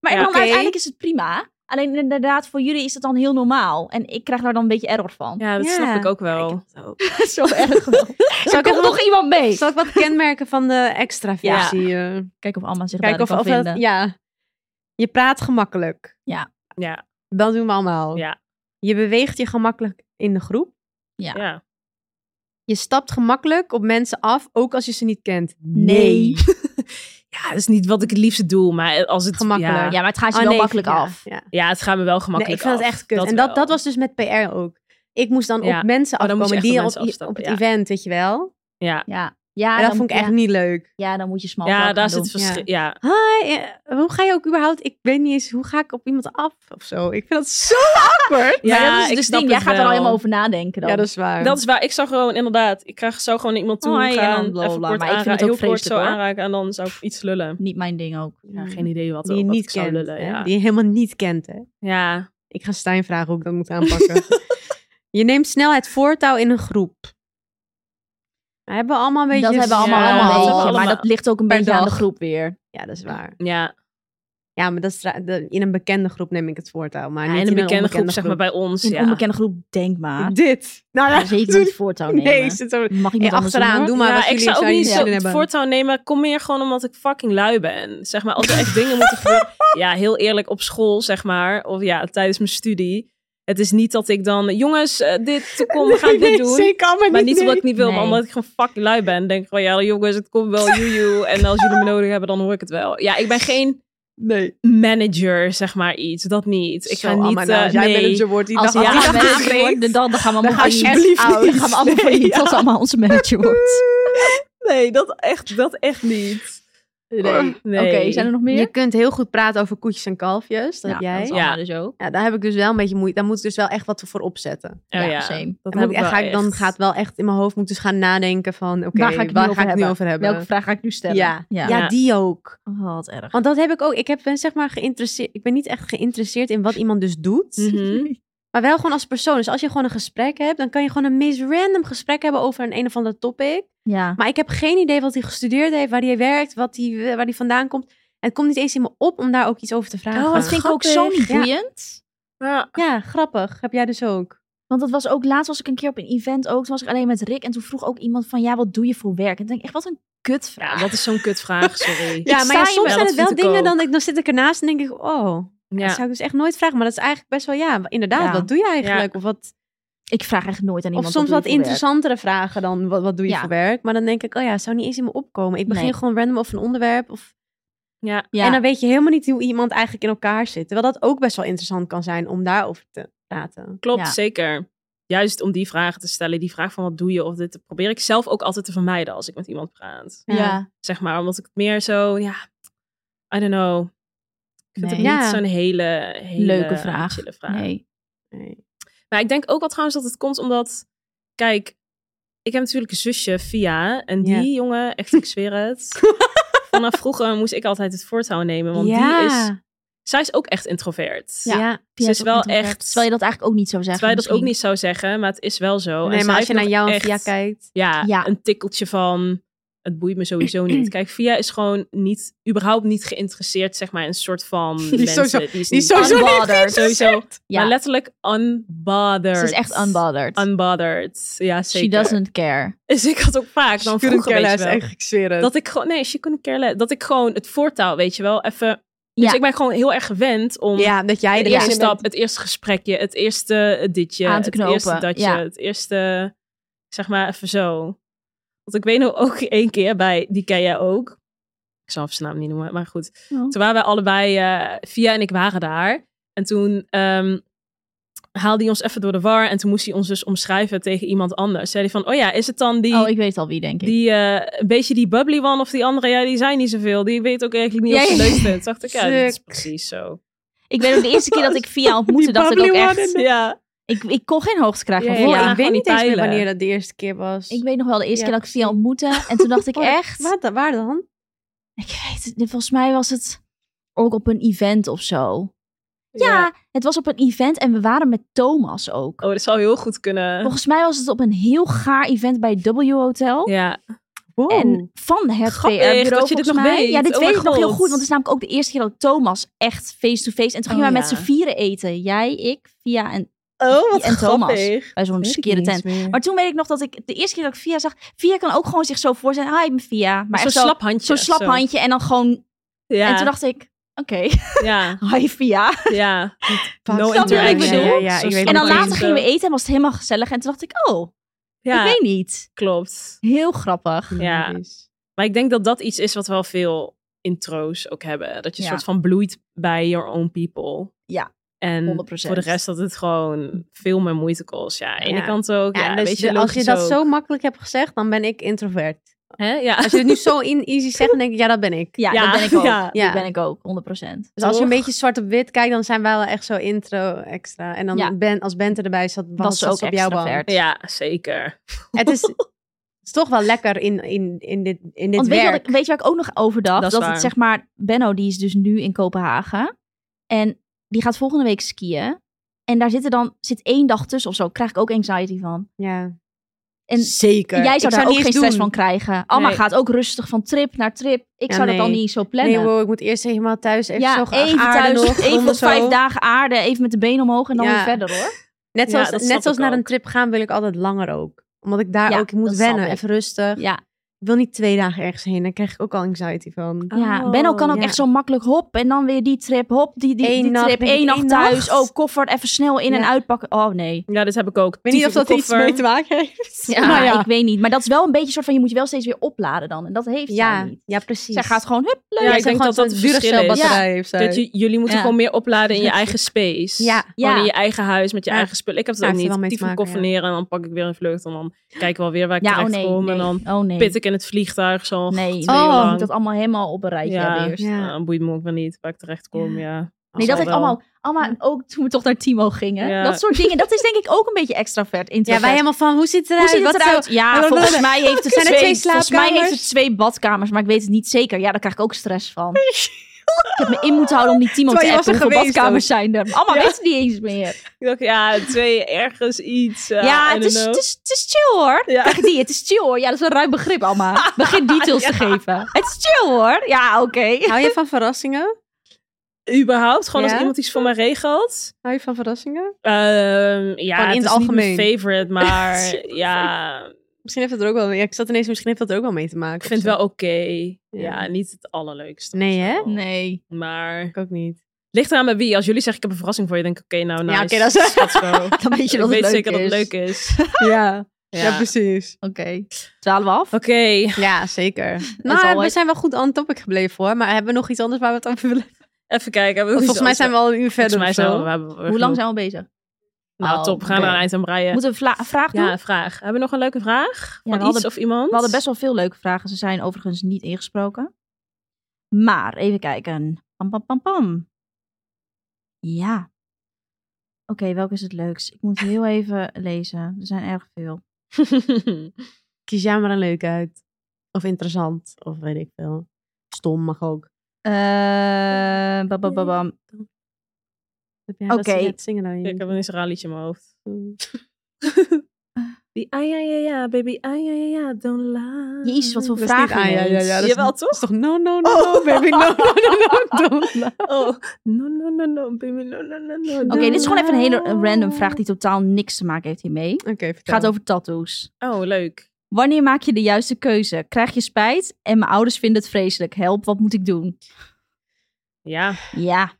E: Maar
C: Ja.
E: dan
D: Oké.
E: uiteindelijk is het prima. Alleen inderdaad, voor jullie is het dan heel normaal. En ik krijg daar dan een beetje error van.
C: Ja, dat
D: Ja.
C: snap ik ook wel. [LAUGHS]
E: [LAUGHS] Zo erg
D: [LAUGHS]
E: wel.
D: Zal
E: Er
D: ik
E: komt
D: even
E: nog
D: wat,
E: iemand mee.
D: zal ik wat kenmerken van de extra
E: Ja.
D: versie? eh,
E: Kijken of Alma zich
D: Kijken of,
E: daarin
D: of
E: kan
D: dat,
E: vinden.
D: ja. Je praat gemakkelijk.
E: Ja.
C: Ja.
D: Dat doen we allemaal.
C: Ja.
D: Je beweegt je gemakkelijk in de groep.
E: Ja.
C: Ja.
D: Je stapt gemakkelijk op mensen af, ook als je ze niet kent. [LAUGHS]
E: Nee.
C: ja, dat is niet wat ik het liefste doe, maar als het...
D: Gemakkelijk.
C: Ja,
E: Ja, maar het gaat je
D: Oh,
E: wel
D: nee,
E: makkelijk
D: ja,
E: af.
D: Ja.
C: ja, het gaat me wel
D: Nee,
C: gemakkelijk
D: ik vind dat
C: af.
D: echt kut. en dat,
C: wel.
D: dat was dus met PR ook. Ik moest dan
C: Ja.
D: op mensen
C: Oh, dan moet je
D: afkomen
C: echt
D: die
C: op
D: al op,
C: mensen afstappen,
D: op het
C: ja.
D: event, weet je wel.
C: Ja,
E: Ja. Ja,
D: en dat vond ik
E: ja.
D: echt niet leuk.
E: Ja, dan moet je smal.
C: ja daar zit
E: zit
C: verschil. nou Ja.
D: Hi, eh, hoe ga je ook überhaupt... Ik weet niet eens, hoe ga ik op iemand af of zo? Ik vind dat zo awkward.
C: Ja,
E: maar dat is
C: ik
E: dus het
C: snap
E: ding.
C: het
E: Jij gaat er
C: wel.
E: al helemaal over nadenken dan.
D: Ja, dat is waar.
C: Dat is waar. Ik zou gewoon inderdaad, ik krijg zo gewoon naar iemand toe
E: Hoi, en
C: gaan,
E: dan
C: even
E: blablabla.
C: kort
E: Maar ik vind
C: aanra-
E: het ook
C: heel kort zo
E: vreselijk, hoor.
C: aanraken en dan zou ik iets lullen.
E: Niet mijn ding ook. Mm.
C: Ja, geen idee wat,
D: die je
C: wat
D: niet
C: ik zou
D: kent.
C: lullen.
D: hè?
C: Ja.
D: Die je helemaal niet kent, hè?
C: ja,
D: Ik ga Stijn vragen hoe ik dat moet aanpakken. je neemt snel het voortouw in een groep. We hebben allemaal een beetje...
E: dat hebben we allemaal
C: Ja,
E: wel
C: dat
E: een beetje.
C: hebben we
E: Maar
C: allemaal.
E: dat ligt ook een
D: Per
E: beetje aan de
D: dag.
E: groep weer.
D: [LAUGHS] Ja, dat is waar.
C: ja.
D: Ja, maar dat is, tra- de- in een bekende groep neem ik het voortouw. Maar
C: Ja,
D: niet
C: in een bekende groep, zeg maar, bij ons.
E: In
C: ja.
E: een onbekende groep, denk maar.
D: [LAUGHS] Dit. Nou,
E: Maar Zeker niet voortouw nemen.
D: Nee, zit zo...
E: Mag
D: Hey,
E: iemand anders doen,
D: achteraan,
E: hoor.
D: doe maar wat
C: ja, ik
D: jullie
C: zou ook niet
D: zin
C: zo
D: in
C: het
D: hebben.
C: voortouw nemen. Kom meer gewoon omdat ik fucking lui ben. Zeg maar, als er echt dingen moeten
D: [LAUGHS]
C: gebeuren. Ja, heel eerlijk, op school, zeg maar. Of ja, tijdens mijn studie. Het is niet dat ik dan... Jongens, eh, dit, kom, we gaan dit doen.
D: Zeker allemaal
C: Maar
D: niet.
C: niet omdat ik niet wil, maar
E: Nee.
C: omdat ik gewoon fucking lui ben. Denk ik van, ja jongens, het komt wel, joejoe. En als jullie me nodig hebben, dan hoor ik het wel. Ja, ik ben geen
D: Nee.
C: manager, zeg maar iets. Dat niet. Ik ga niet... eh,
D: als jij
C: nee.
D: manager wordt, die
E: Als
D: dag [LAUGHS]
E: hij
D: al
E: ja,
D: die dag
E: manager wordt, dan, dan gaan we allemaal
D: ga
E: [LAUGHS]
D: je alsjeblieft
E: Dan
D: niet.
E: gaan we allemaal failliet
C: Nee, ja.
E: als allemaal onze manager wordt.
C: Nee, dat echt, dat echt niet. Nee. nee.
E: Oké, zijn er nog meer?
D: Je kunt heel goed praten over koetjes en kalfjes. Dat
E: Ja,
D: heb jij.
E: Dat is
D: Ja.
C: Ja.
E: allemaal dus ook.
D: daar heb ik dus wel een beetje moeite. Daar moet ik dus wel echt wat voor opzetten.
C: Oh, ja,
E: same.
C: Dat
D: Dan, moet ik echt,
C: wel
D: ga ik, dan
C: echt.
D: gaat wel echt in mijn hoofd moet ik dus gaan nadenken van... Oké,
E: Waar ga ik het nu over
D: ik nu
E: hebben?
D: over hebben?
E: Welke vraag ga ik nu stellen?
D: Ja.
E: ja.
D: ja, die ook.
E: Oh, wat erg.
D: Want dat heb ik ook. Ik heb, ben, zeg maar geïnteresseerd. Ik ben niet echt geïnteresseerd in wat iemand dus doet.
C: Mhm.
D: Maar wel gewoon als persoon. Dus als je gewoon een gesprek hebt, dan kan je gewoon een meest random gesprek hebben over een een of ander topic.
E: [LAUGHS] Ja.
D: Maar ik heb geen idee wat hij gestudeerd heeft, waar hij werkt, wat hij, waar hij vandaan komt. En het komt niet eens in me op om daar ook iets over te vragen.
C: Oh,
E: Dat vind ik ook zo niet
D: Ja.
E: boeiend.
C: Ja.
D: Ja, grappig. Heb jij dus ook.
E: Want dat was ook laatst was ik een keer op een event ook. Toen was ik alleen met Rick en toen vroeg ook iemand van ja, wat doe je voor werk? En toen denk ik echt wat een kutvraag.
C: Ja, dat is zo'n kutvraag, sorry.
D: Ja, maar
E: sta
D: ja,
E: hier wel.
D: soms
C: Ja,
D: zijn
C: dat
D: het wel
C: vind ik
D: dingen,
C: ook.
D: dan, ik- dan zit ik ernaast en denk ik, oh, dat
C: Ja.
D: zou ik dus echt nooit vragen. Maar dat is eigenlijk best wel, ja, inderdaad,
E: Ja.
D: wat doe je eigenlijk? Of wat,
E: Ik vraag echt nooit aan iemand.
D: Of soms
E: doe je
D: wat
E: voor werk?
D: interessantere vragen dan wat, wat doe je
E: Ja.
D: voor werk. Maar dan denk ik, oh ja, het zou niet eens in me opkomen. Ik begin
E: Nee.
D: gewoon random over een onderwerp. Of...
C: Ja.
E: Ja.
D: En dan weet je helemaal niet hoe iemand eigenlijk in elkaar zit. Terwijl dat ook best wel interessant kan zijn om daarover te praten.
C: Klopt,
E: Ja.
C: zeker. Juist om die vragen te stellen, die vraag van wat doe je of dit, probeer ik zelf ook altijd te vermijden als ik met iemand praat.
D: Ja.
E: Ja.
C: Zeg maar, omdat ik het meer zo, ja, I don't know. Ik vind
E: Nee.
C: het niet
D: Ja.
C: zo'n hele, hele
E: Leuke vraag.
C: chille vraag.
E: Nee.
D: Nee.
C: Maar ik denk ook wel trouwens dat het komt omdat, kijk, ik heb natuurlijk een zusje, Via, en die
D: Ja.
C: jongen, echt, ik zweer het. Vanaf vroeger moest ik altijd het voortouw nemen, want die is, zij is ook echt introvert.
D: Ja.
E: Pia
C: Ze is wel
E: introvert.
C: echt-
E: Terwijl je dat eigenlijk ook niet zou zeggen.
C: Terwijl je dat ook
E: misschien.
C: niet zou zeggen, maar het is wel zo. En
D: Nee,
C: zij
D: maar als je
C: heeft
D: naar
C: nog
D: jou en
C: echt-
D: Via kijkt.
C: Ja,
E: Ja.
C: een tikkeltje van. Het boeit me sowieso niet. Kijk, Via is gewoon niet, überhaupt niet geïnteresseerd, zeg maar, in een soort van. mensen.
D: sowieso-
C: die is
D: die
C: niet
D: is sowieso niet
C: unbothered. Sowieso.
E: Ja.
C: Maar letterlijk unbothered.
E: Ze is echt unbothered.
C: Unbothered. Ja,
E: She
C: Ah, zeker.
E: doesn't care.
C: [LAUGHS] Dus ik had ook vaak dan vroeger, weet je wel,
D: ik zweer het.
C: dat ik gewoon, nee, she couldn't care less. Dat ik gewoon het voortouw, weet je wel, even.
E: Ja.
C: Dus ik ben gewoon heel erg gewend om
D: ja, dat jij
C: de
D: de
C: eerste stap, het eerste gesprekje, het eerste ditje,
E: Aan te knopen,
C: het eerste datje,
E: ja.
C: het eerste, zeg maar even zo. Want ik weet nog ook [LAUGHS] één keer bij, die ken jij ook. Ik zal even zijn naam niet noemen, maar goed.
E: Oh.
C: Toen waren wij allebei, eh, Via en ik waren daar. En toen ehm, haalde hij ons even door de war en toen moest hij ons dus omschrijven tegen iemand anders. Zei hij van, oh ja, is het dan die...
E: Oh, ik weet al wie, denk ik.
C: Die, eh, een beetje die bubbly one of die andere, ja, die zijn niet zoveel. Die weet ook eigenlijk niet
E: Ja,
C: of ze
E: ja,
C: leuk vindt. Dacht ik, ja, dat is
D: Suk.
C: precies zo.
E: Ik weet ook de eerste keer dat ik
C: [LAUGHS]
E: Via ontmoette, dacht ik ook
D: bubbly one
E: echt...
D: in
C: Ja.
E: Ik, ik kon geen hoogte krijgen van
C: Ja,
E: Via.
C: ja.
D: ik weet
C: gewoon
D: niet
C: niet
D: eens meer
C: huilen.
D: wanneer dat de eerste keer was.
E: Ik weet nog wel de eerste
D: Ja,
E: keer dat ik Via
D: [LAUGHS]
E: ontmoette. En toen dacht ik
D: Oh,
E: echt...
D: Wat, waar dan?
E: Ik weet het, volgens mij was het ook op een event of zo. Ja, het was op een event en we waren met Thomas ook.
C: Oh, dat zou heel goed kunnen.
E: Volgens mij was het op een heel gaar event bij W Hotel.
C: Ja.
E: En van het
C: Oh. Grappig
E: PR-bureau
C: dat je dit nog
E: mij.
C: weet.
E: Ja, dit
C: Oh
E: weet
C: mijn
E: ik nog heel
C: god.
E: goed. Want het is namelijk ook de eerste keer dat Thomas echt face-to-face... En toen
C: Oh,
E: gingen wij met
C: ja.
E: z'n vieren eten. Jij, ik, Via en
C: Oh,
E: wat
C: wat
E: En Thomas.
C: grappig.
E: bij zo'n skere tent. Maar toen weet ik nog dat ik de eerste keer dat ik Via zag... Via kan ook gewoon zich zo voorstellen. Hi, ik ben Via. Maar
C: zo'n
E: echt zo,
C: slap handje.
E: zo'n slap
C: zo.
E: handje. En dan gewoon...
C: Ja,
E: En toen dacht ik... Oké, [LAUGHS]
C: ja,
E: hi Via.
C: ja. No
E: Snap je wat ik
C: interaction.
E: bedoel?
D: Ja, ja, ik weet
E: En dan
D: wat je
E: later gingen we eten en was het helemaal gezellig. En toen dacht ik, oh,
C: Ja,
E: ik weet niet.
C: klopt.
E: Heel grappig.
C: Ja. Maar ik denk dat dat iets is wat wel veel intro's ook hebben. Dat je een
E: Ja.
C: soort van bloeit bij your own people.
E: Ja,
C: En
E: 100%.
C: voor de rest dat het gewoon veel meer moeite kost. Ja, aan de ene
D: Ja.
C: kant ook. Ja,
D: Ja, dus
C: weet je,
D: als je
C: logisch
D: dat
C: ook.
D: zo makkelijk hebt gezegd, dan ben ik introvert.
C: Hè? Ja.
D: Als je het nu zo in easy zegt, dan denk ik, ja, dat ben ik.
E: Ja,
C: Ja,
E: dat ben ik ook.
C: ja.
D: Ja.
E: Dat ben ik ook, 100%.
D: Dus als je een
C: Toch?
D: beetje zwart op wit kijkt, dan zijn wij wel echt zo intro extra. En dan
E: Ja.
D: ben, als Bente erbij zat, was,
E: was ze
D: zat ze
E: ook
D: op jouw bank.
E: extravert.
C: Ja, zeker.
D: Het [LAUGHS] is, het is toch wel lekker in, in, in dit, in dit
E: Want weet je, wat
D: werk.
E: ik, weet je waar ik ook nog over dacht?
C: Dat
E: Dat,
C: is waar.
E: het zeg maar, Benno die is dus nu in Kopenhagen. En die gaat volgende week skiën. En daar zit er dan zit één dag tussen of zo. Krijg ik ook anxiety van.
D: Ja.
E: En
D: Zeker.
E: jij zou daar ook geen stress van
D: van
E: krijgen. Alma
C: Nee.
E: gaat ook rustig van trip naar trip. Ik
D: Ja,
E: zou dat dan
D: nee.
E: niet zo plannen.
D: Nee, wow, ik moet eerst helemaal thuis even zo
E: ja,
D: gaan
E: even
D: aarden
E: thuis,
D: [LAUGHS] nog,
E: even
D: ronden zo.
E: vijf dagen aarde, even met de benen omhoog en dan
D: Ja.
E: weer verder hoor.
D: Net
C: Ja,
D: zoals,
C: dat snap
D: net zoals
C: ik
D: naar een
C: ook.
D: trip gaan wil ik altijd langer ook. Omdat ik daar
E: Ja,
D: ook moet
E: dat snap
D: wennen,
E: ik.
D: even rustig.
E: Ja,
D: Ik wil niet twee dagen ergens heen, daar krijg ik ook al anxiety van.
E: ja. Benno kan ook
D: Oh, ja.
E: echt zo makkelijk hop en dan weer die trip, hop, die, die,
D: Eén
E: die
D: nacht,
E: trip,
D: denk ik,
E: één nacht
D: één
E: thuis.
D: nacht.
E: Oh, koffert even snel in en
D: Ja.
E: uitpakken. Oh nee.
C: Ja, dat heb ik ook. Ik
D: Ik weet niet of dat iets mee te maken heeft.
E: Nou Ja,
D: Maar ja.
E: ik weet niet. Maar dat is wel een beetje een soort van, je moet je wel steeds weer opladen dan. En dat heeft zij
D: Ja,
E: niet.
D: ja, precies.
E: Zij gaat gewoon, hup, leuk.
C: Ja,
D: Zij
C: ik denk
D: gewoon
C: dat dat
D: zo'n
C: het verschil is.
D: duurgestelbatterij heeft zij.
C: Dat je- jullie moeten
E: Ja.
C: gewoon meer opladen in je eigen space.
D: Ja.
C: Gewoon
E: Ja.
C: in je eigen huis met je
D: Ja.
C: eigen spullen. Ik heb het
D: Ja,
C: ook
D: heeft er
C: niet.
D: wel
C: Die
D: mee te
C: van
D: maken, ja.
C: koffineren en dan pak ik weer een vlucht. En dan kijk ik wel weer waar ik
E: Ja, oh
C: terecht
E: nee,
C: kom.
E: nee.
C: En dan
E: oh nee.
C: pit ik in het vliegtuig zo'n [LAUGHS] twee
E: Nee, nee.
C: uur
E: je
C: lang.
E: moet dat allemaal helemaal op een rijtje
C: Ja.
E: hebben eerst.
D: Ja.
C: Ja, dan boeit me ook wel niet waar ik terecht kom. Ja.
E: Nee, dat heeft
C: wel.
E: allemaal, allemaal ook toen we toch naar Timo gingen.
C: Ja.
E: Dat soort dingen, dat is denk ik ook een beetje extravert,
D: Ja,
E: introvert.
D: wij helemaal van, hoe ziet het
E: Hoe
D: eruit?
E: ziet het
D: Wat
E: eruit?
D: zo-
E: Ja,
D: Blablabla.
E: volgens mij heeft het
D: Zijn er
E: twee,
D: twee
E: volgens mij heeft het
D: slaapkamers?
E: twee badkamers, maar ik weet het niet zeker. Ja, daar krijg ik ook stress van. [LAUGHS] ik heb me in moeten houden om die Timo te
D: Terwijl je was
E: appen.
D: er
E: Hoeveel
D: geweest
E: badkamers zijn er? Allemaal
C: Ja.
E: weet het niet eens meer.
C: Ik dacht, ja, twee ergens iets. eh,
E: ja,
C: I
E: het
C: don't
E: is,
C: know.
E: het, is, het is chill hoor.
C: Ja.
E: Kijk die, het is chill hoor. Ja, dat is een ruim begrip allemaal. Begin
D: [LAUGHS]
E: details te geven. Het is chill hoor. Ja, oké.
D: Hou je van verrassingen?
C: Überhaupt, gewoon als
D: Ja?
C: iemand iets voor mij regelt.
D: Hou je van verrassingen?
C: Ehm, ja,
D: Gewoon in
C: het
D: het
C: is niet mijn
D: algemeen.
E: [LAUGHS]
C: favorite, maar ja,
D: Misschien heeft het er ook wel... Ja, ik zat ineens, misschien heeft dat er ook wel mee te maken.
C: ik vind het
D: of
C: wel
D: zo.
C: oké.
D: Ja.
C: Ja. niet het allerleukste. of
D: Nee, hè?
C: zo.
E: Nee.
C: Maar
D: Ik ook niet.
C: ligt eraan bij wie. Als jullie zeggen, ik heb een verrassing voor je, denk ik, oké, nou, nice.
D: Ja, oké, dat is-
C: Let's go.
E: [LAUGHS] Dan weet je
C: ik
E: dat het
C: weet
E: leuk
C: zeker dat
E: is.
C: het leuk is.
D: Ja,
C: Ja.
D: ja precies.
E: Oké. Dwalen we af?
C: Oké,
D: Ja, [LAUGHS] zeker.
E: As
D: Nou, we
E: always.
D: zijn wel goed on topic gebleven hoor. Maar hebben we nog iets anders waar we het over willen?
C: even kijken.
D: Want volgens mij zijn we al een uur verder
C: Volgens mij
D: of
C: zijn
D: zo.
C: we, we hebben,
E: Hoe lang zijn we al bezig?
C: Nou,
E: Oh,
C: top. We gaan
E: oké.
C: naar een eind aan breien.
E: Moeten we een vla- vraag doen?
C: Ja, een vraag. Hebben we nog een leuke vraag?
E: Ja,
C: van
E: we
C: iets
E: hadden-
C: of iemand?
E: We hadden best wel veel leuke vragen. Ze zijn overigens niet ingesproken. Maar even kijken. Pam, pam, pam, pam. Ja. Oké, welke is het leukst? Ik moet heel even lezen. Er zijn erg veel.
C: [LAUGHS]
D: Kies jij maar een leuk uit. Of interessant. Of weet ik veel. Stom mag ook.
E: Eh, bam, bam, bam, bam.
D: Heb jij dat
E: Oké.
D: ze net zingen nou?
C: ik heb
D: Jimmy?
C: ineens een raar liedje in mijn hoofd. [LAUGHS] Die ah ja ja ja, baby ah ja ja ja, don't lie.
E: Jezus, wat voor
D: Dat is niet
E: vragen
D: aan, ja, ja, ja, dat is-
C: Jawel,
D: Dat
C: toch?
D: is toch no, no, no, no, baby, no, no, no, no, don't laugh.
C: Oh, no no no no, baby no no no no.
E: Oké, dit is gewoon even een hele random vraag die totaal niks te maken heeft hiermee.
D: Oké,
E: Het gaat over tattoos.
C: Oh, leuk.
E: Wanneer maak je de juiste keuze? Krijg je spijt? En mijn ouders vinden het vreselijk. Help, wat moet ik doen?
C: Ja,
E: Ja.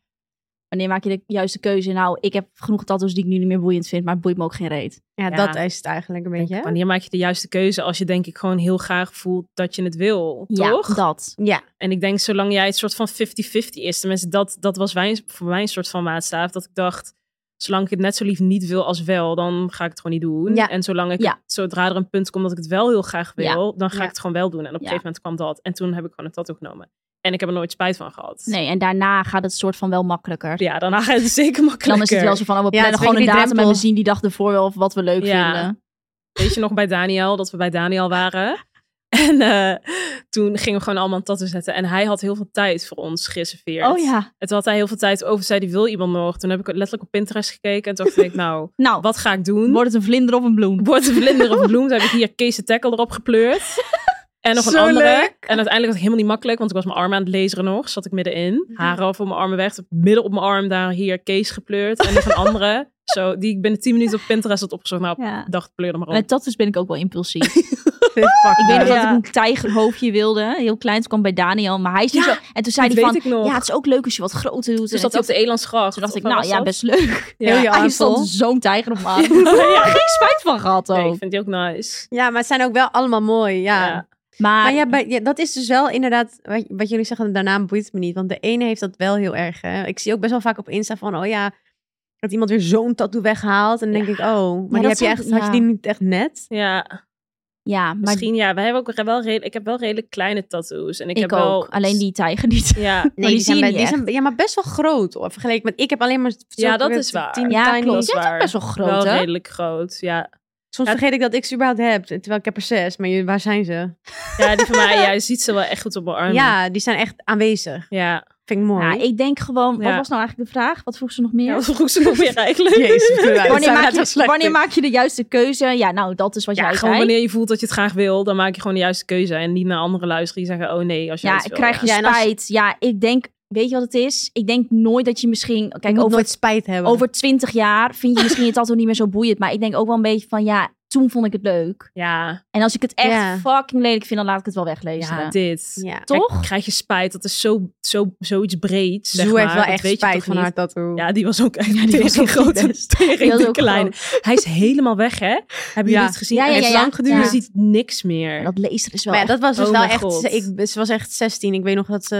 E: Wanneer maak je de juiste keuze? Nou, ik heb genoeg tattoos die ik nu niet meer boeiend vind, maar het boeit me ook geen reet.
D: Ja,
C: Ja.
D: dat is het eigenlijk een beetje. hè?
C: wanneer maak je de juiste keuze als je denk ik gewoon heel graag voelt dat je het wil, toch?
E: Ja, dat.
D: Ja,
C: En ik denk, zolang jij het soort van 50-50 is, tenminste, dat, dat was wij, voor mij een soort van maatstaaf. Dat ik dacht, zolang ik het net zo lief niet wil als wel, dan ga ik het gewoon niet doen.
D: Ja.
C: En zolang ik,
E: Ja.
C: zodra er een punt komt dat ik het wel heel graag wil, dan ga
D: Ja.
C: ik het gewoon wel doen. En op een
E: Ja.
C: gegeven moment kwam dat. En toen heb ik gewoon een tattoo genomen. En ik heb er nooit spijt van gehad.
E: Nee, en daarna gaat het soort van wel makkelijker.
C: Ja, [LAUGHS] daarna gaat het zeker makkelijker.
E: Dan is het wel zo van, oh, we
D: Ja,
E: plannen
D: het is
E: gewoon een
D: een beetje die
E: datum en we
D: drempel.
E: zien die dag ervoor wel of wat we leuk
C: Ja.
E: vinden.
C: Weet je nog bij Daniel, dat we bij Daniel waren? [LAUGHS] En eh, toen gingen we gewoon allemaal een tattoo zetten. En hij had heel veel tijd voor ons gereserveerd.
E: Oh ja.
C: En toen had hij heel veel tijd over, zei hij wil iemand nog. Toen heb ik letterlijk op Pinterest gekeken. En toen dacht ik, [LAUGHS] nou,
E: Nou,
C: wat ga ik doen?
E: wordt het een vlinder of een bloem?
C: Wordt een [LAUGHS] vlinder of een bloem? Toen heb ik hier Kees de Tackle erop gepleurd. En nog een
G: Zo
C: andere.
G: leuk.
C: En uiteindelijk was het helemaal niet makkelijk, want ik was mijn armen aan het laseren nog. Zat ik middenin. Haren van mijn armen weg. Midden op mijn arm daar hier Kees gepleurd. En nog een andere. Zo, die ik binnen 10 minuten op Pinterest had opgezocht. Nou,
E: Ja.
C: dacht pleur er maar op.
E: Met tattoos ben ik ook wel
C: [LAUGHS]
E: impulsief. ik weet nog dat ik een tijgerhoofdje wilde. Heel klein. Toen kwam bij Daniel. Maar hij is niet
C: Ja,
E: zo... En toen zei
C: dat
E: hij
C: weet
E: van...
C: ik nog.
E: Ja, het is ook leuk als je wat groter doet.
C: Dus
E: En
C: dat op de Elandsgracht.
E: Toen dacht ik,
C: Of waar
E: nou
C: was
E: ja,
C: dat?
E: best leuk. [LAUGHS]
C: Ja.
E: Heel Hij
D: aanval.
E: stond zo'n tijger op me
C: [LAUGHS]
E: aan.
C: Ja.
E: Geen spijt van gehad
C: Nee,
E: ook.
C: ik vind die ook nice.
D: Ja, maar het zijn ook wel allemaal mooi, ja.
C: Ja.
E: Maar
D: Maar ja, bij- ja, dat is dus wel inderdaad, wat, wat jullie zeggen, daarna boeit het me niet. Want de ene heeft dat wel heel erg. Hè. Ik zie ook best wel vaak op Insta van, oh ja, dat iemand weer zo'n tattoo weghaalt. En dan denk ik, oh, maar die
E: dat
D: heb je
E: snap
D: echt,
E: ik,
D: had je
E: ja.
D: die niet echt net?
C: Ja,
E: Ja, maar
C: misschien ja. Wij hebben ook wel redelijk, ik heb wel redelijk kleine tattoos. En ik,
E: ik,
C: heb
E: ook.
C: wel,
E: Alleen die tijger niet.
C: [LAUGHS] Ja,
E: [LAUGHS] Maar die zie je
D: bij-
E: niet
D: die zijn Ja, maar best wel groot hoor, vergeleken met, ik heb alleen maar...
C: Ja, dat
D: weer
C: is waar.
D: tien
E: Ja,
D: tiny-
E: klopt.
C: dat is
E: Jij hebt
C: waar.
E: ook best wel groot,
C: wel
E: hè?
C: redelijk groot. Ja,
D: Soms
C: Ja.
D: vergeet ik dat ik ze überhaupt heb, terwijl ik heb er zes. Maar jullie- waar zijn ze?
C: ja die van mij, ja, je ziet ze wel echt goed op mijn armen.
D: Ja, die zijn echt aanwezig.
C: Ja,
D: Vind ik mooi.
E: Ja, Nou, ik denk gewoon... Wat
C: Ja.
E: was nou eigenlijk de vraag? Wat vroeg ze nog meer?
C: ja wat vroeg ze nog weer eigenlijk?
D: Jezus,
C: [LAUGHS]
D: dat
E: wanneer
D: zijn
E: maak,
D: net
E: je,
D: slecht
E: wanneer
D: in.
E: maak je de juiste keuze? Ja, nou, dat is wat
C: Ja,
E: jij
C: gewoon
E: zei.
C: wanneer je voelt dat je het graag wil, dan maak je gewoon de juiste keuze. En niet naar anderen luisteren die zeggen, oh nee, als je
E: Ja,
C: iets wil,
E: krijg je
C: ja.
D: Ja, en als-
E: spijt. Ja, ik denk... Weet je wat het is? Ik denk nooit dat je misschien...
D: Je
E: Kijk,
D: moet
E: over,
D: nooit spijt hebben.
E: over twintig jaar vind je misschien je tattoo niet meer zo boeiend. Maar ik denk ook wel een beetje van... Ja, toen vond ik het leuk.
C: Ja,
E: En als ik het echt
D: Ja.
E: fucking lelijk vind, dan laat ik het wel weglezen.
C: ja, dit.
D: Ja.
C: Kijk,
E: Toch?
C: Krijg je spijt, dat is zo, zo, zoiets breed, zeg
D: Zoe
C: maar.
D: heeft wel
C: Dat
D: echt
C: weet je
D: spijt
C: toch
D: van
C: niet?
D: haar tattoo.
C: Ja, die was ook echt ja,
E: die was ook
C: groot.
E: niet best.
C: Tegen
E: was
C: de
E: ook
C: kleine. Hij is helemaal weg, hè? Hebben jullie
D: Ja.
C: het gezien?
E: Ja, ja,
C: Hij
E: ja,
C: is
E: ja.
C: lang geduurd.
E: Ja.
C: Je ziet niks meer.
E: En dat lezer is wel
D: Maar ja,
E: echt-
D: dat was dus
C: Oh
D: wel
C: mijn
D: echt...
C: God.
D: Ze, ik, ze was echt 16. Ik weet nog dat ze...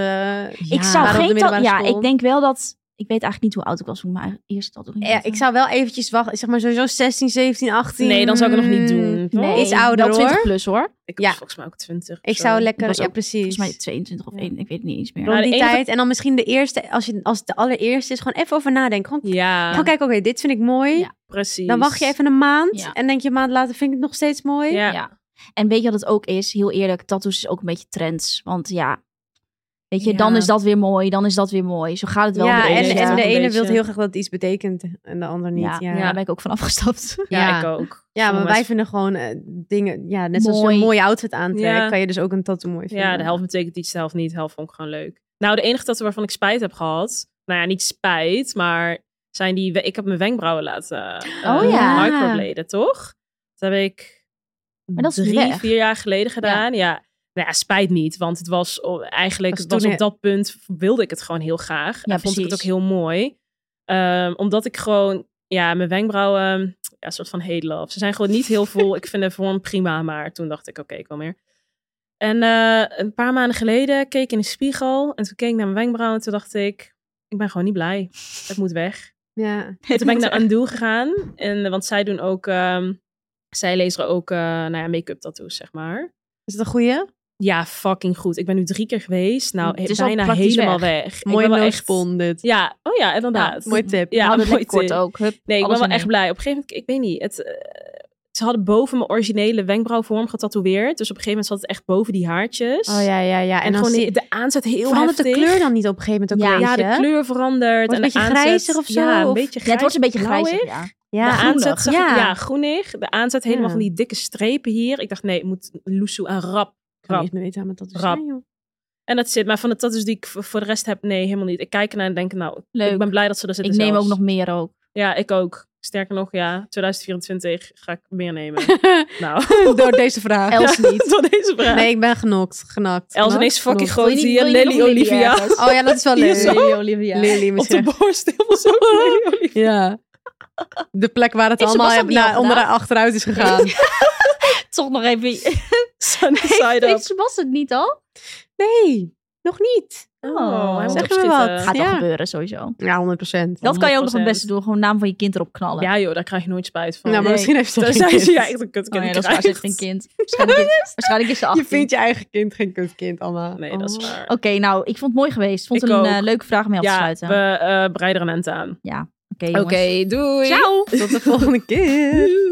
E: Ik zou
D: waren op de
E: geen... ta-
D: middelbare
E: Ja,
D: school.
E: ik denk wel dat... Ik weet eigenlijk niet hoe oud ik was toen ik mijn eerste tattoo ging
D: Ja,
E: zetten.
D: ik zou wel eventjes wachten. Zeg maar sowieso 16, 17, 18.
C: Nee, dan zou ik het nog niet doen. toch?
E: Nee,
D: Iets ouder,
E: wel 20
D: hoor.
E: plus hoor.
C: Ik was
D: Mm, Ja.
C: volgens mij ook 20. of
D: Ik
C: zo.
D: zou
E: Ik
D: lekker...
E: was
D: Ja,
E: ook
D: precies.
E: Volgens mij 22 of 1, ik weet het niet eens meer.
C: Ja.
D: Rond die
C: de enige-
D: tijd. En dan misschien de eerste... Als, je, als het de allereerste is, gewoon even over nadenken. Gewoon,
C: Ja,
D: gewoon kijken, oké, dit vind ik mooi.
E: Ja.
C: precies.
D: Dan wacht je even een maand.
E: Ja.
D: En denk je een maand later, vind ik het nog steeds mooi?
C: Ja.
E: Ja. En weet je wat het ook is? Heel eerlijk, tattoos is ook een beetje trends. Want ja, weet je,
D: Ja.
E: dan is dat weer mooi, dan is dat weer mooi. Zo gaat het wel.
D: Ja,
E: met
D: en,
E: deze.
D: en de
C: Een
D: ene
C: beetje.
D: wil heel graag dat het iets betekent en de ander niet.
E: ja,
D: Ja,
E: daar ben ik ook van [LAUGHS] afgestapt.
C: Ja,
D: Ja.
C: ik ook.
D: Ja, maar
C: Sommige
D: wij
C: mensen-
D: vinden gewoon eh, dingen, ja, net zoals je
E: Mooi.
D: een mooie outfit aantrekt,
C: Ja.
D: kan je dus ook een tattoo mooi vinden.
C: Ja, de helft betekent iets, de helft niet. De helft vond ik gewoon leuk. Nou, de enige tattoo waarvan ik spijt heb gehad... Nou ja, niet spijt, maar... Zijn die... we- Ik heb mijn wenkbrauwen laten eh,
E: Oh ja.
C: microbladen, toch? Dat heb ik
E: Maar dat is
C: drie,
E: weg.
C: vier jaar geleden gedaan. Ja. Nou ja, spijt niet, want het was o- eigenlijk
D: Was
C: het was
D: toen-
C: op dat punt wilde ik het gewoon heel graag. en
E: Ja,
C: vond ik het ook
E: precies.
C: heel mooi. Ehm, omdat ik gewoon, ja, mijn wenkbrauwen, ja, een soort van hate love. Ze zijn gewoon niet heel vol. ik vind de vorm prima, maar toen dacht ik, oké, ik wil meer. En eh, een paar maanden geleden keek ik in de spiegel en toen keek ik naar mijn wenkbrauwen en toen dacht ik, ik ben gewoon niet blij. Het moet weg.
D: Ja.
C: En toen ben ik naar Undo gegaan, en, eh, want zij doen ook, ehm, zij lezen ook, eh, nou ja, make-up tattoos, zeg maar.
D: Is het een goeie?
C: Ja, fucking goed. Ik ben nu drie keer geweest. Nou,
E: Het is al
C: bijna
E: praktisch
C: helemaal weg. Ik ben
D: Mooie
C: wel
D: nose
C: echt-
D: pon dit.
C: Ja, oh ja, inderdaad.
D: Mooi tip.
C: Ja,
E: Hou dat
C: mooi
E: lekker kort
C: tip.
E: ook. Hup,
C: Nee, ik
E: alles
C: ben wel echt
E: in één.
C: blij. Op een gegeven moment, ik weet niet, het, eh, ze hadden boven mijn originele wenkbrauwvorm getatoeëerd. Dus op een gegeven moment zat het echt boven die haartjes.
D: Oh ja, ja, ja.
C: En,
D: En, dan
C: gewoon
D: zie-
C: die- de aanzet heel
D: verandert de
C: heftig.
D: kleur dan niet op een gegeven moment ook
E: Ja.
D: een
C: Ja,
D: beetje?
C: de kleur verandert. en
D: Wordt een
C: de
D: beetje
C: aanzet,
D: grijzig of zo,
C: Ja, een
D: of-
C: beetje grijzig.
E: Ja, het wordt een beetje grijzig.
C: blauwig.
E: Ja.
C: De
D: Ja.
C: aanzet, zag ik- ja.
D: Ja.
C: groenig. De aanzet helemaal
D: Ja.
C: van die dikke strepen hier. Ik dacht, nee, het moet loesoe en rap.
D: Ik kan
C: rap.
D: niet meer weten aan mijn tattoos
C: Rap.
D: zijn, joh.
C: En dat zit. Maar van de tattoos die ik v- voor de rest heb, nee, helemaal niet. Ik kijk ernaar en denk, nou,
E: Leuk.
C: ik ben blij dat ze er
E: Ik
C: zitten
E: neem ook
C: zelfs.
E: nog meer ook.
C: Ja, ik ook. Sterker nog, ja, 2024 ga ik meer nemen.
E: [LAUGHS]
C: nou, [LAUGHS]
D: Door deze vraag.
E: Els niet.
C: door deze vraag.
D: Nee, ik ben genokt. Genakt.
C: Els
D: Genakt?
C: ineens fucking
D: Genakt.
C: groot
E: Wil je niet-
C: hier.
E: wil je niet
C: Lily
E: nog
C: [LAUGHS]
E: Lily
C: Olivia.
E: ergens?
D: Oh ja, dat is wel
C: Hier
D: leuk.
C: zo.
D: [LAUGHS] Lily Olivia. [LAUGHS] Lily
C: Op de
D: misschien.
C: borst. Helemaal zo. Lily Olivia.
E: [LAUGHS]
D: Ja. De plek waar het
E: Is
D: allemaal
E: Sebastian niet
D: naar-
E: afgedaan?
D: onder achteruit is [LAUGHS] gegaan.
E: Toch nog [LAUGHS] even. Heeft-
C: Sunny side up.
E: Heeft was het niet al?
D: Nee, nog niet.
C: Oh, hij moet
D: Zeg maar
C: opschieten.
D: wat.
E: Gaat al
D: Ja.
E: gebeuren sowieso.
D: Ja, 100 procent.
E: Dat kan je ook nog het
C: 100%.
E: beste doen. Gewoon naam van je kind erop knallen. Oh
C: Ja joh, daar krijg je nooit spijt van.
D: Nou, maar
E: Nee.
D: misschien heeft
C: [LAUGHS]
D: ze
C: Daar
D: geen
C: zijn
D: kind.
C: ze ja, echt een kutkind
E: Oh nee, dat is waar,
C: krijgt.
E: ze heeft geen kind. Waarschijnlijk, waarschijnlijk is ze 18.
D: Je vindt je eigen kind geen kutkind, Anna. Oh.
C: Nee, dat is waar.
E: Oké, nou, ik vond het mooi geweest. Vond
C: Ik
E: het een eh,
C: ook.
E: leuke vraag om mee af te
C: Ja, we
E: sluiten. Oké,
C: eh, breiden er een eind aan.
E: jongens.
C: doei.
E: Ciao!
D: Tot de volgende keer.